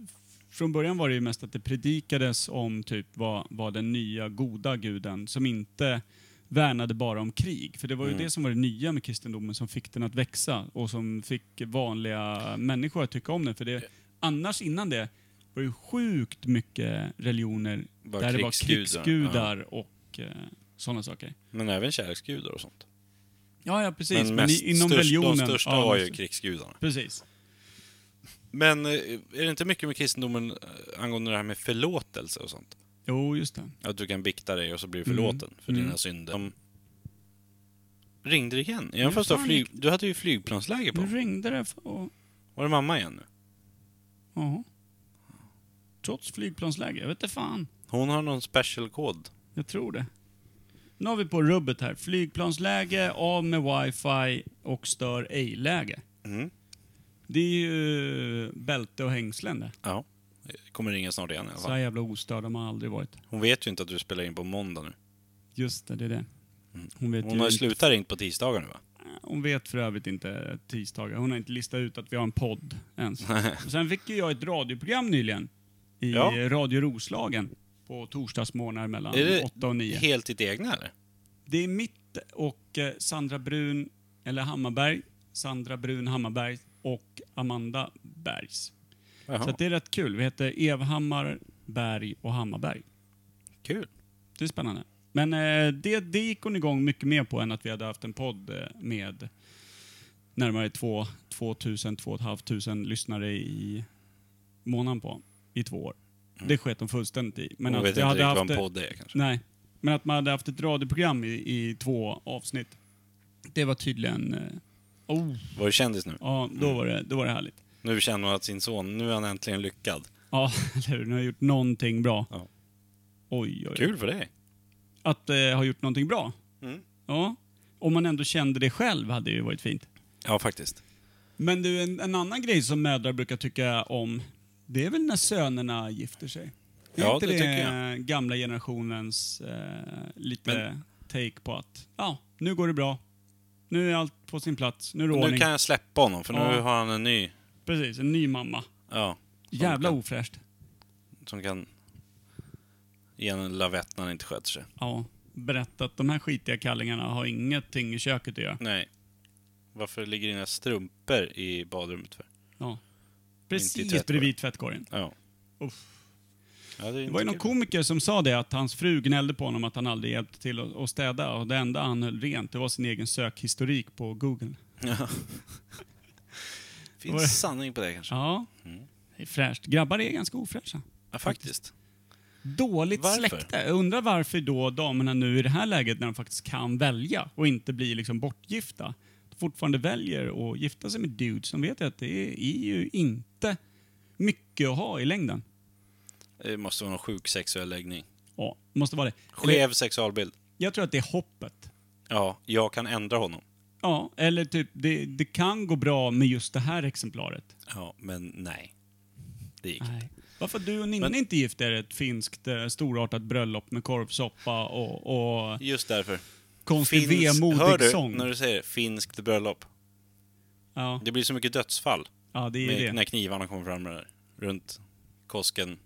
Speaker 1: från början var det ju mest att det predikades om typ vad, vad den nya goda guden som inte värnade bara om krig. För det var
Speaker 2: Mm.
Speaker 1: ju det som var det nya med kristendomen som fick den att växa och som fick vanliga människor att tycka om den. För det, annars innan det var det ju sjukt mycket religioner
Speaker 2: Bara
Speaker 1: där det var
Speaker 2: krigsgudar,
Speaker 1: krigsgudar och eh, sådana saker.
Speaker 2: Men även kärleksgudar och sånt.
Speaker 1: Ja, ja precis. Men,
Speaker 2: Men mest,
Speaker 1: i, inom
Speaker 2: störst,
Speaker 1: religionen...
Speaker 2: de största
Speaker 1: ja,
Speaker 2: var ju krigsgudarna.
Speaker 1: Precis.
Speaker 2: Men eh, är det inte mycket med kristendomen eh, angående det här med förlåtelse och sånt?
Speaker 1: Jo, just det.
Speaker 2: Att du kan bikta dig och så blir du
Speaker 1: Mm.
Speaker 2: förlåten för
Speaker 1: Mm.
Speaker 2: dina synder. De ringde igen. Även
Speaker 1: Ja,
Speaker 2: fast du, har
Speaker 1: fan.
Speaker 2: flyg... du hade ju flygplansläge på.
Speaker 1: Nu ringde det och...
Speaker 2: Var det mamma igen nu?
Speaker 1: Ja. Trots flygplansläge, jag vet inte fan.
Speaker 2: Hon har någon special kod.
Speaker 1: Jag tror det. Nu har vi på rubbet här. Flygplansläge, av med wifi och stör ej-läge.
Speaker 2: Mm.
Speaker 1: Det är ju eh, bälte och hängslen det.
Speaker 2: Ja. Kommer ringa snart igen i alla
Speaker 1: Så här
Speaker 2: fall.
Speaker 1: jävla ostörd har man aldrig varit.
Speaker 2: Hon vet ju inte att du spelar in på måndag nu.
Speaker 1: Just det, det är det. Hon vet,
Speaker 2: Mm. Hon
Speaker 1: ju
Speaker 2: har ju
Speaker 1: inte,
Speaker 2: slutat ringt på tisdagar nu va?
Speaker 1: hon vet för övrigt inte tisdagar. Hon har inte listat ut att vi har en podd ens. Och sen fick ju jag ett radioprogram nyligen. I
Speaker 2: Ja.
Speaker 1: Radio Roslagen. På torsdagsmorgnar mellan
Speaker 2: Är det
Speaker 1: 8 och 9.
Speaker 2: Helt ditt egna eller?
Speaker 1: Det är mitt och eh, Sandra Brun, eller Hammarberg, Sandra Brun Hammarberg och Amanda Bergs. Så
Speaker 2: Jaha,
Speaker 1: att det är rätt kul. Vi heter Evhammar, Berg och Hammarberg.
Speaker 2: kul.
Speaker 1: Det är spännande. Men eh, det, det gick hon igång mycket mer på än att vi hade haft en podd eh, med närmare 2 2000, 2 500 lyssnare i
Speaker 2: Mm.
Speaker 1: månaden på i två år. Det sket hon fullständigt i. Men
Speaker 2: Men Hon
Speaker 1: att
Speaker 2: vet
Speaker 1: alltså, jag
Speaker 2: inte
Speaker 1: hade
Speaker 2: riktigt
Speaker 1: haft
Speaker 2: vad en
Speaker 1: det-
Speaker 2: podd är kanske.
Speaker 1: Nej, men att man hade haft ett radioprogram i, i två avsnitt. Det var tydligen... eh, Oh,
Speaker 2: Var du kändis nu?
Speaker 1: ja, då var det, då var det härligt.
Speaker 2: Nu känner hon att sin son, nu är han äntligen lyckad.
Speaker 1: Ja, eller hur? Nu har jag gjort någonting bra.
Speaker 2: Ja.
Speaker 1: Oj, oj, oj.
Speaker 2: Kul för dig.
Speaker 1: Att eh, ha gjort någonting bra.
Speaker 2: Mm.
Speaker 1: Ja. Om man ändå kände det själv hade det ju varit fint.
Speaker 2: Ja, faktiskt.
Speaker 1: Men du, en, en annan grej som mödrar brukar tycka om, det är väl när sönerna gifter sig? Är
Speaker 2: Ja,
Speaker 1: inte
Speaker 2: det tycker
Speaker 1: gamla generationens eh, lite
Speaker 2: Men-
Speaker 1: take på att, ja, nu går det bra. Nu är allt på sin plats. Nu är det
Speaker 2: Nu
Speaker 1: ordning.
Speaker 2: kan jag släppa honom för nu
Speaker 1: Ja.
Speaker 2: har han en ny,
Speaker 1: Precis, en ny mamma.
Speaker 2: ja,
Speaker 1: Jävla
Speaker 2: kan-
Speaker 1: ofräscht.
Speaker 2: som kan ge en en lavett när han inte sköter sig.
Speaker 1: Ja, berätta att de här skitiga kallingarna har ingenting i köket att göra.
Speaker 2: Nej. Varför ligger dina strumpor i badrummet för?
Speaker 1: Ja.
Speaker 2: tvättkorgen.
Speaker 1: Precis bredvid tvättkorgen.
Speaker 2: Ja.
Speaker 1: Uff.
Speaker 2: ja det, är
Speaker 1: Det var ju
Speaker 2: inte
Speaker 1: någon
Speaker 2: kul.
Speaker 1: komiker som sa det att hans fru gnällde på honom att han aldrig hjälpte till att att städa och det enda han höll rent det var sin egen sökhistorik på Google.
Speaker 2: Ja.
Speaker 1: Var det-
Speaker 2: Finns sanning på det kanske? Ja,
Speaker 1: Ja, det är fräscht. Grabbar är ganska ofräscha.
Speaker 2: faktiskt.
Speaker 1: Dåligt
Speaker 2: Varför?
Speaker 1: släkte. Jag undrar varför då damerna nu i det här läget när de faktiskt kan välja och inte blir liksom bortgifta fortfarande väljer att gifta sig med dudes som vet jag att det är ju inte mycket att ha i längden.
Speaker 2: Det måste vara någon sjuk sexuell läggning.
Speaker 1: Ja, måste vara det. Eller,
Speaker 2: Skev sexualbild.
Speaker 1: jag tror att det är hoppet.
Speaker 2: Ja, jag kan ändra honom.
Speaker 1: Ja, eller typ det, det kan gå bra med just det här exemplaret.
Speaker 2: Ja, men nej. Det gick
Speaker 1: Nej. Varför du och Ninni
Speaker 2: Men-
Speaker 1: inte gift er ett finskt eh, storartat bröllop med korvsoppa och, och
Speaker 2: Just därför.
Speaker 1: konstig
Speaker 2: hör
Speaker 1: vemodig
Speaker 2: du
Speaker 1: sång?
Speaker 2: när du säger finskt bröllop?
Speaker 1: Ja,
Speaker 2: Det blir så mycket dödsfall
Speaker 1: ja, det är
Speaker 2: med,
Speaker 1: det.
Speaker 2: när knivarna kommer fram där, runt kosken.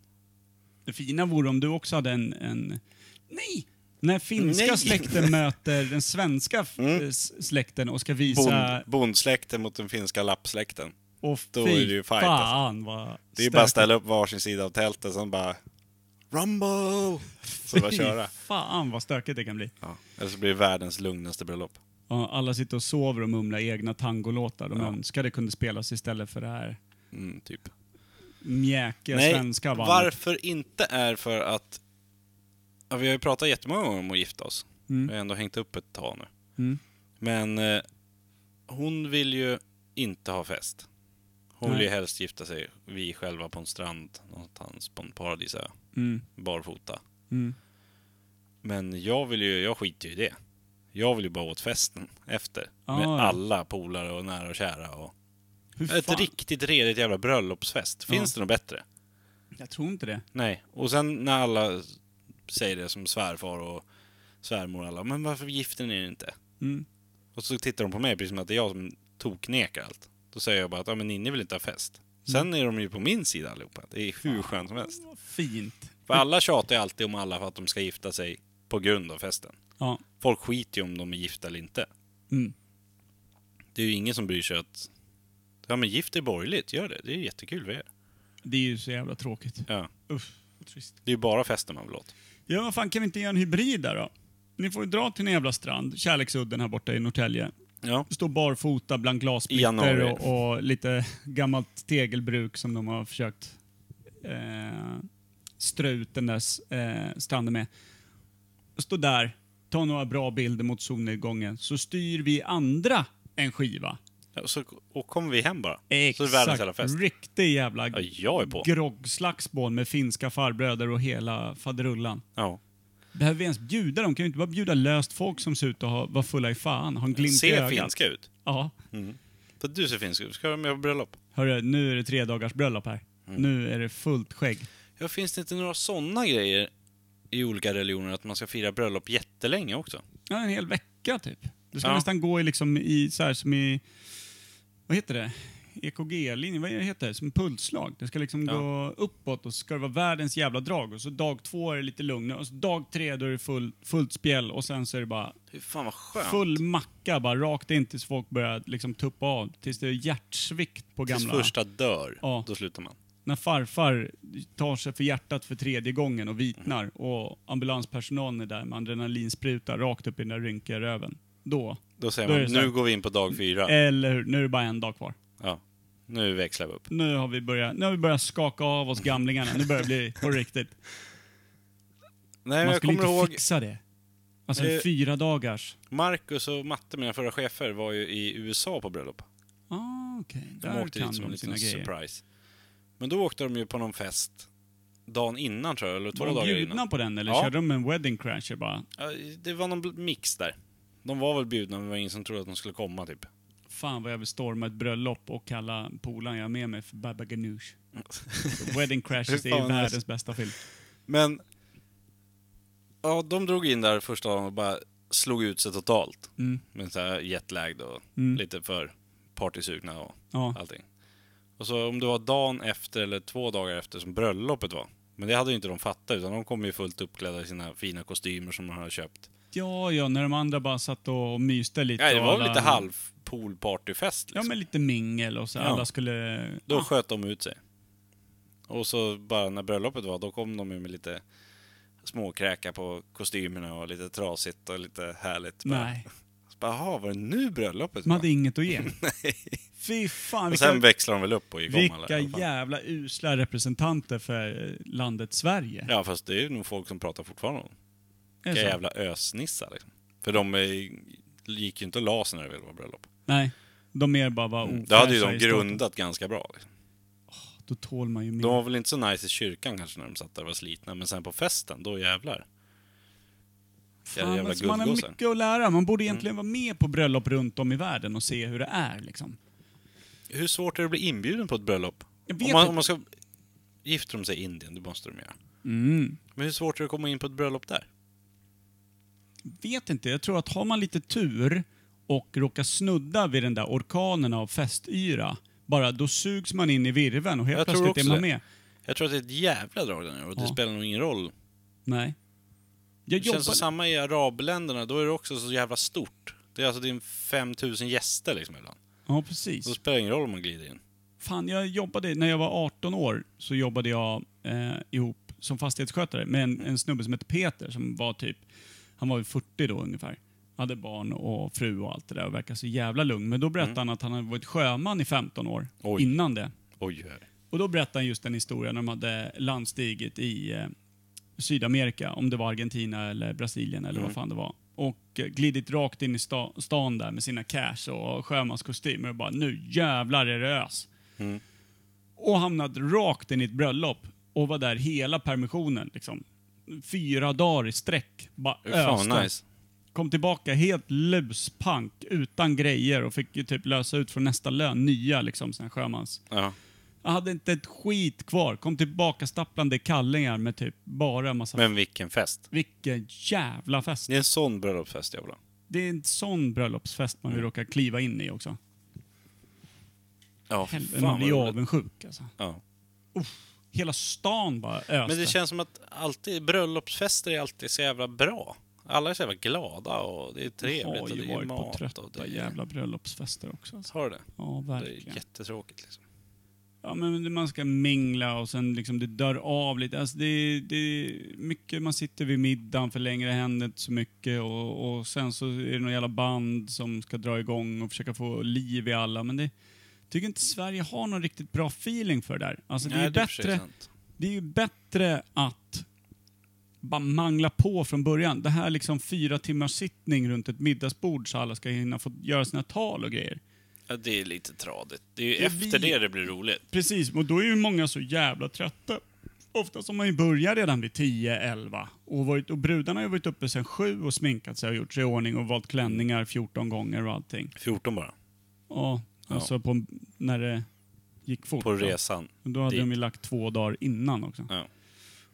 Speaker 1: Det fina vore om du också hade en... en... Nej! När finska
Speaker 2: Nej. Mm.
Speaker 1: släkten möter den svenska f- s- släkten och ska visa...
Speaker 2: Bond, bondsläkten mot den finska lappsläkten.
Speaker 1: Och
Speaker 2: då
Speaker 1: fy
Speaker 2: är det ju fight, alltså.
Speaker 1: fan vad
Speaker 2: Det är ju bara att
Speaker 1: stökigt.
Speaker 2: ställa upp varsin sida av tältet, sen bara... Rumble! Så bara
Speaker 1: Fy
Speaker 2: köra.
Speaker 1: fan vad stökigt det kan bli.
Speaker 2: Ja. Eller så blir det världens lugnaste bröllop.
Speaker 1: Ja, alla sitter och sover och mumlar egna tangolåtar de önskade kunde spelas istället för det här
Speaker 2: Mm, typ.
Speaker 1: mjäkiga svenska bandet.
Speaker 2: varför inte är för att... Ja, vi har ju pratat jättemånga gånger om att gifta oss.
Speaker 1: Mm.
Speaker 2: Vi har ändå hängt upp ett tag nu.
Speaker 1: Mm.
Speaker 2: Men eh, hon vill ju inte ha fest. Hon vill
Speaker 1: Nej.
Speaker 2: ju helst gifta sig, vi själva på en strand någonstans på en paradisö,
Speaker 1: Mm,
Speaker 2: barfota.
Speaker 1: mm.
Speaker 2: Men jag vill ju, jag skiter ju i det. Jag vill ju bara åt festen efter.
Speaker 1: Ah,
Speaker 2: med
Speaker 1: ja.
Speaker 2: alla polare och nära och kära. Och
Speaker 1: Hur
Speaker 2: ett
Speaker 1: fan?
Speaker 2: riktigt redigt jävla bröllopsfest. Finns det något bättre?
Speaker 1: Jag tror inte det.
Speaker 2: Nej, och sen när alla säger det som svärfar och svärmor och alla, men varför gifter ni er inte?
Speaker 1: Mm.
Speaker 2: Och så tittar de på mig precis som att det är jag som toknekar allt. Då säger jag bara att ja, men Ninni vill inte ha fest.
Speaker 1: Mm.
Speaker 2: Sen är de ju på min sida allihopa. Det är hur skönt som helst.
Speaker 1: Vad fint.
Speaker 2: För alla tjatar ju alltid om alla för att de ska gifta sig på grund av festen.
Speaker 1: Ja.
Speaker 2: Folk skiter ju om de är gifta eller inte.
Speaker 1: Mm.
Speaker 2: Det är ju ingen som bryr sig att... Ja men gift är borgerligt, gör det. Det är jättekul för er.
Speaker 1: Det är ju så jävla tråkigt.
Speaker 2: Ja.
Speaker 1: Uff, vad trist.
Speaker 2: Det är ju bara festen man vill åt.
Speaker 1: Ja, vad fan kan vi inte göra en hybrid där då? Ni får ju dra till en jävla strand, Kärleksudden här borta i Norrtälje.
Speaker 2: Ja.
Speaker 1: Stå barfota bland
Speaker 2: I
Speaker 1: glassplitter
Speaker 2: januari.
Speaker 1: och, och lite gammalt tegelbruk som de har försökt eh, strö ut den där s- eh, stranden med. Stå där, ta några bra bilder mot solnedgången, så styr vi andra en skiva.
Speaker 2: Ja, Så, och kommer vi hem bara. Så är det världens jävla
Speaker 1: Exakt.
Speaker 2: fest.
Speaker 1: Riktig jävla
Speaker 2: Ja, jag är på.
Speaker 1: groggslagsmål med finska farbröder och hela faderullan.
Speaker 2: Ja.
Speaker 1: Behöver vi ens bjuda dem? Kan vi inte bara bjuda löst folk som ser ut att ha- vara fulla i fan, ha en glimt i
Speaker 2: Ser
Speaker 1: ögat?
Speaker 2: finska ut.
Speaker 1: Ja.
Speaker 2: För du ser finsk ut. Ska du med på bröllop?
Speaker 1: Hörru, nu är det tre dagars bröllop här.
Speaker 2: Mm.
Speaker 1: Nu är det fullt skägg.
Speaker 2: Ja, finns det inte några sådana grejer i olika religioner att man ska fira bröllop jättelänge också?
Speaker 1: Ja, en hel vecka typ. Du ska
Speaker 2: Ja.
Speaker 1: nästan gå i liksom i, så här som i, vad heter det? EKG-linjen, vad är det heter, som pulsslag. Det ska liksom gå uppåt och så ska det vara världens jävla drag. Och så dag två är det lite lugnare och så dag tre då är det full, fullt spjäll och sen så är det bara
Speaker 2: Fy fan vad skönt.
Speaker 1: full macka bara rakt in tills folk börjar liksom tuppa av. Tills det är hjärtsvikt på
Speaker 2: Tills
Speaker 1: gamla...
Speaker 2: första dör,
Speaker 1: Ja.
Speaker 2: då slutar man.
Speaker 1: När farfar tar sig för hjärtat för tredje gången och vitnar och ambulanspersonalen är där med adrenalinspruta rakt upp i den där rynkiga röven. Då,
Speaker 2: Då säger
Speaker 1: Då är
Speaker 2: man,
Speaker 1: det så här. Eh.
Speaker 2: nu går vi in på dag fyra.
Speaker 1: eller hur? Nu är det bara en dag kvar.
Speaker 2: Ja. Nu växlar vi upp.
Speaker 1: Nu har vi börjat, nu har vi börjat skaka av oss gamlingarna. Nu börjar det bli på riktigt.
Speaker 2: Nej, men
Speaker 1: Man
Speaker 2: jag
Speaker 1: skulle
Speaker 2: kommer
Speaker 1: inte
Speaker 2: ihåg,
Speaker 1: fixa det. Alltså
Speaker 2: Eh.
Speaker 1: en fyra dagars.
Speaker 2: Marcus och Matte, mina förra chefer, var ju i USA på bröllop.
Speaker 1: Ah, okej.
Speaker 2: De
Speaker 1: Där
Speaker 2: åkte
Speaker 1: kan
Speaker 2: dit som en
Speaker 1: de sina
Speaker 2: liten
Speaker 1: grejer.
Speaker 2: surprise. Men då åkte de ju på någon fest dagen innan tror jag, eller två
Speaker 1: Var de
Speaker 2: dagar
Speaker 1: bjudna
Speaker 2: innan.
Speaker 1: på den eller
Speaker 2: Ja.
Speaker 1: körde de en wedding crasher bara?
Speaker 2: Ja, Det var någon bl- mix där. De var väl bjudna, men det var ingen som trodde att de skulle komma typ.
Speaker 1: Fan vad jag vill storma ett bröllop och kalla polaren jag har med mig för Baba Ganoush. Wedding Crashers
Speaker 2: Fan,
Speaker 1: är ju
Speaker 2: vad
Speaker 1: världens
Speaker 2: nice.
Speaker 1: bästa film.
Speaker 2: Men... Ja, de drog in där första dagen och bara slog ut sig totalt.
Speaker 1: Mm.
Speaker 2: Men så här jetlagged och
Speaker 1: Mm.
Speaker 2: lite för partysugna och
Speaker 1: Ja.
Speaker 2: allting. Och så om det var dagen efter eller två dagar efter som bröllopet var. Men det hade ju inte de fattat utan de kom ju fullt uppklädda i sina fina kostymer som de hade köpt.
Speaker 1: ja, ja, när de andra bara satt och myste lite.
Speaker 2: Nej, det
Speaker 1: och
Speaker 2: var väl
Speaker 1: alla-
Speaker 2: lite halv poolpartyfest
Speaker 1: Ja,
Speaker 2: liksom.
Speaker 1: men lite mingel och så.
Speaker 2: Ja.
Speaker 1: Alla skulle...
Speaker 2: Då
Speaker 1: Ah,
Speaker 2: sköt de ut sig. Och så bara när bröllopet var, då kom de ju med lite småkräka på kostymerna och lite trasigt och lite härligt. Bara-
Speaker 1: nej,
Speaker 2: Så bara, Jaha, var det nu bröllopet
Speaker 1: de
Speaker 2: var?
Speaker 1: hade inget att ge. Fy fan,
Speaker 2: Och
Speaker 1: vilka,
Speaker 2: sen växlar de väl upp och är igång alla.
Speaker 1: vilka
Speaker 2: i alla fall.
Speaker 1: jävla usla representanter för eh, landet Sverige.
Speaker 2: Ja, fast det är ju nog folk som pratar fortfarande om
Speaker 1: Är det
Speaker 2: Vilka
Speaker 1: så?
Speaker 2: jävla ösnissar liksom. För de eh, gick ju inte och la sig när det väl var bröllop.
Speaker 1: Nej, de mer bara var
Speaker 2: Det Mm. hade ju de
Speaker 1: ofräscha i starten.
Speaker 2: grundat ganska bra. Liksom.
Speaker 1: Då tål man ju mer.
Speaker 2: De var väl inte så nice i kyrkan kanske när de satt där och var slitna, men sen på festen, då jävlar.
Speaker 1: Fan,
Speaker 2: jävla Mm.
Speaker 1: alltså, man har
Speaker 2: guldgossar.
Speaker 1: mycket att lära. Man borde egentligen vara med på bröllop runt om i världen och se hur det är. Liksom.
Speaker 2: Hur svårt är det att bli inbjuden på ett bröllop?
Speaker 1: Jag
Speaker 2: Om
Speaker 1: vet
Speaker 2: man,
Speaker 1: inte.
Speaker 2: om man ska... Gifter de sig i Indien, det måste de göra.
Speaker 1: Mm.
Speaker 2: Men hur svårt är det att komma in på ett bröllop där?
Speaker 1: Vet inte. Jag tror att har man lite tur och råkar snudda vid den där orkanen av festyra, bara då sugs man in i virven och helt
Speaker 2: Jag tror
Speaker 1: plötsligt
Speaker 2: också
Speaker 1: är man
Speaker 2: det.
Speaker 1: med.
Speaker 2: Jag tror att det är ett jävla drag där nu och det
Speaker 1: Ja.
Speaker 2: spelar nog ingen roll.
Speaker 1: Nej. Jag
Speaker 2: Det känns som
Speaker 1: jobbade...
Speaker 2: samma i arabländerna, då är det också så jävla stort. Det är alltså din 5000 gäster liksom ibland.
Speaker 1: Ja,
Speaker 2: Då
Speaker 1: precis.
Speaker 2: spelar det ingen roll om man glider in.
Speaker 1: Fan, jag jobbade, när jag var 18 år så jobbade jag eh, ihop som fastighetsskötare med en, en snubbe som hette Peter som var typ, han var ju 40 då ungefär. Hade barn och fru och allt det där och verkade så jävla lugn. Men då berättade han att han hade varit sjöman i 15 år
Speaker 2: Oj.
Speaker 1: innan det.
Speaker 2: Oj, här.
Speaker 1: Och då berättade han just den historien när de hade landstigit i eh, Sydamerika, om det var Argentina eller Brasilien eller
Speaker 2: Mm.
Speaker 1: vad fan det var. Och eh, glidit rakt in i sta stan där med sina cash och sjömanskostymer och bara nu jävlar är det ös.
Speaker 2: Mm.
Speaker 1: Och hamnat rakt in i ett bröllop och var där hela permissionen liksom. Fyra dagar i sträck. Bara
Speaker 2: Fan
Speaker 1: öste.
Speaker 2: vad nice.
Speaker 1: Kom tillbaka helt luspank, utan grejer och fick ju typ lösa ut från nästa lön nya liksom, såna här sjömans.
Speaker 2: Ja.
Speaker 1: Jag hade inte ett skit kvar. Kom tillbaka stapplande kallingar med typ bara massa...
Speaker 2: Men vilken fest.
Speaker 1: Vilken jävla fest!
Speaker 2: Det är en sån bröllopsfest jag vill ha.
Speaker 1: Det är en sån bröllopsfest
Speaker 2: Mm.
Speaker 1: man vill råka kliva in i också.
Speaker 2: Ja,
Speaker 1: Helvete, man blir
Speaker 2: roligt.
Speaker 1: avundsjuk alltså.
Speaker 2: ja.
Speaker 1: Hela stan bara öste.
Speaker 2: Men det känns som att alltid, bröllopsfester är alltid så jävla bra. Alla är så jävla glada och det är
Speaker 1: Jag
Speaker 2: trevligt
Speaker 1: har
Speaker 2: och
Speaker 1: ju
Speaker 2: det är
Speaker 1: varit på
Speaker 2: mat och
Speaker 1: trötta
Speaker 2: det är...
Speaker 1: jävla bröllopsfester också. Alltså.
Speaker 2: Har du det?
Speaker 1: Ja,
Speaker 2: Det är
Speaker 1: verkligen.
Speaker 2: jättetråkigt liksom.
Speaker 1: Ja, men man ska mingla och sen liksom det dör av lite. Alltså det, är- det är mycket man sitter vid middagen för längre händer inte så mycket och, och sen så är det någon jävla band som ska dra igång och försöka få liv i alla. Men det tycker inte Sverige har någon riktigt bra feeling för det där. Alltså det, är
Speaker 2: Nej,
Speaker 1: ju
Speaker 2: det är för sig
Speaker 1: bättre,
Speaker 2: sant.
Speaker 1: det är ju bättre att bara mangla på från början. Det här liksom fyra timmars sittning runt ett middagsbord så alla ska hinna få göra sina tal och grejer.
Speaker 2: Ja, det är lite tradigt. Det är ju
Speaker 1: Det
Speaker 2: efter
Speaker 1: blir-
Speaker 2: det det blir roligt.
Speaker 1: Precis, och då är ju många så jävla trötta. Ofta som man ju börjar redan vid 10-11 och, varit- och brudarna har ju varit uppe sen 7 och sminkat sig och gjort sig i ordning och valt klänningar 14 gånger och allting.
Speaker 2: 14 bara.
Speaker 1: Ja, alltså På, när det gick fort.
Speaker 2: På
Speaker 1: då.
Speaker 2: resan.
Speaker 1: Då hade
Speaker 2: dit.
Speaker 1: de ju lagt två dagar innan också.
Speaker 2: Ja.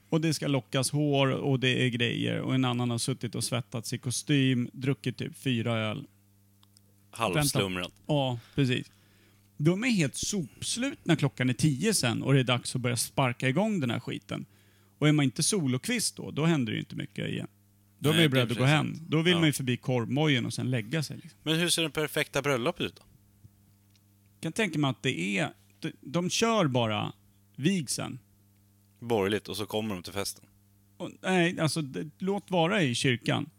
Speaker 1: Och det ska lockas hår och det är grejer och en annan har suttit och svettats i kostym, druckit typ fyra öl
Speaker 2: Halvslumrat.
Speaker 1: Ja, precis. De är helt sopslut när klockan är tio sen och det är dags att börja sparka igång den här skiten. Och är man inte Solokvist då, då händer det ju inte mycket igen. Då är
Speaker 2: Nej,
Speaker 1: man
Speaker 2: det är
Speaker 1: ju beredd att gå
Speaker 2: precis
Speaker 1: hem.
Speaker 2: sant.
Speaker 1: Då vill
Speaker 2: Ja.
Speaker 1: man ju förbi korvmojen och sen lägga sig. Liksom.
Speaker 2: Men hur ser den perfekta bröllop ut då?
Speaker 1: Jag kan tänka mig att det är... De, de kör bara vigseln.
Speaker 2: Borgerligt och så kommer de till festen.
Speaker 1: Och, nej, alltså det, låt vara i kyrkan.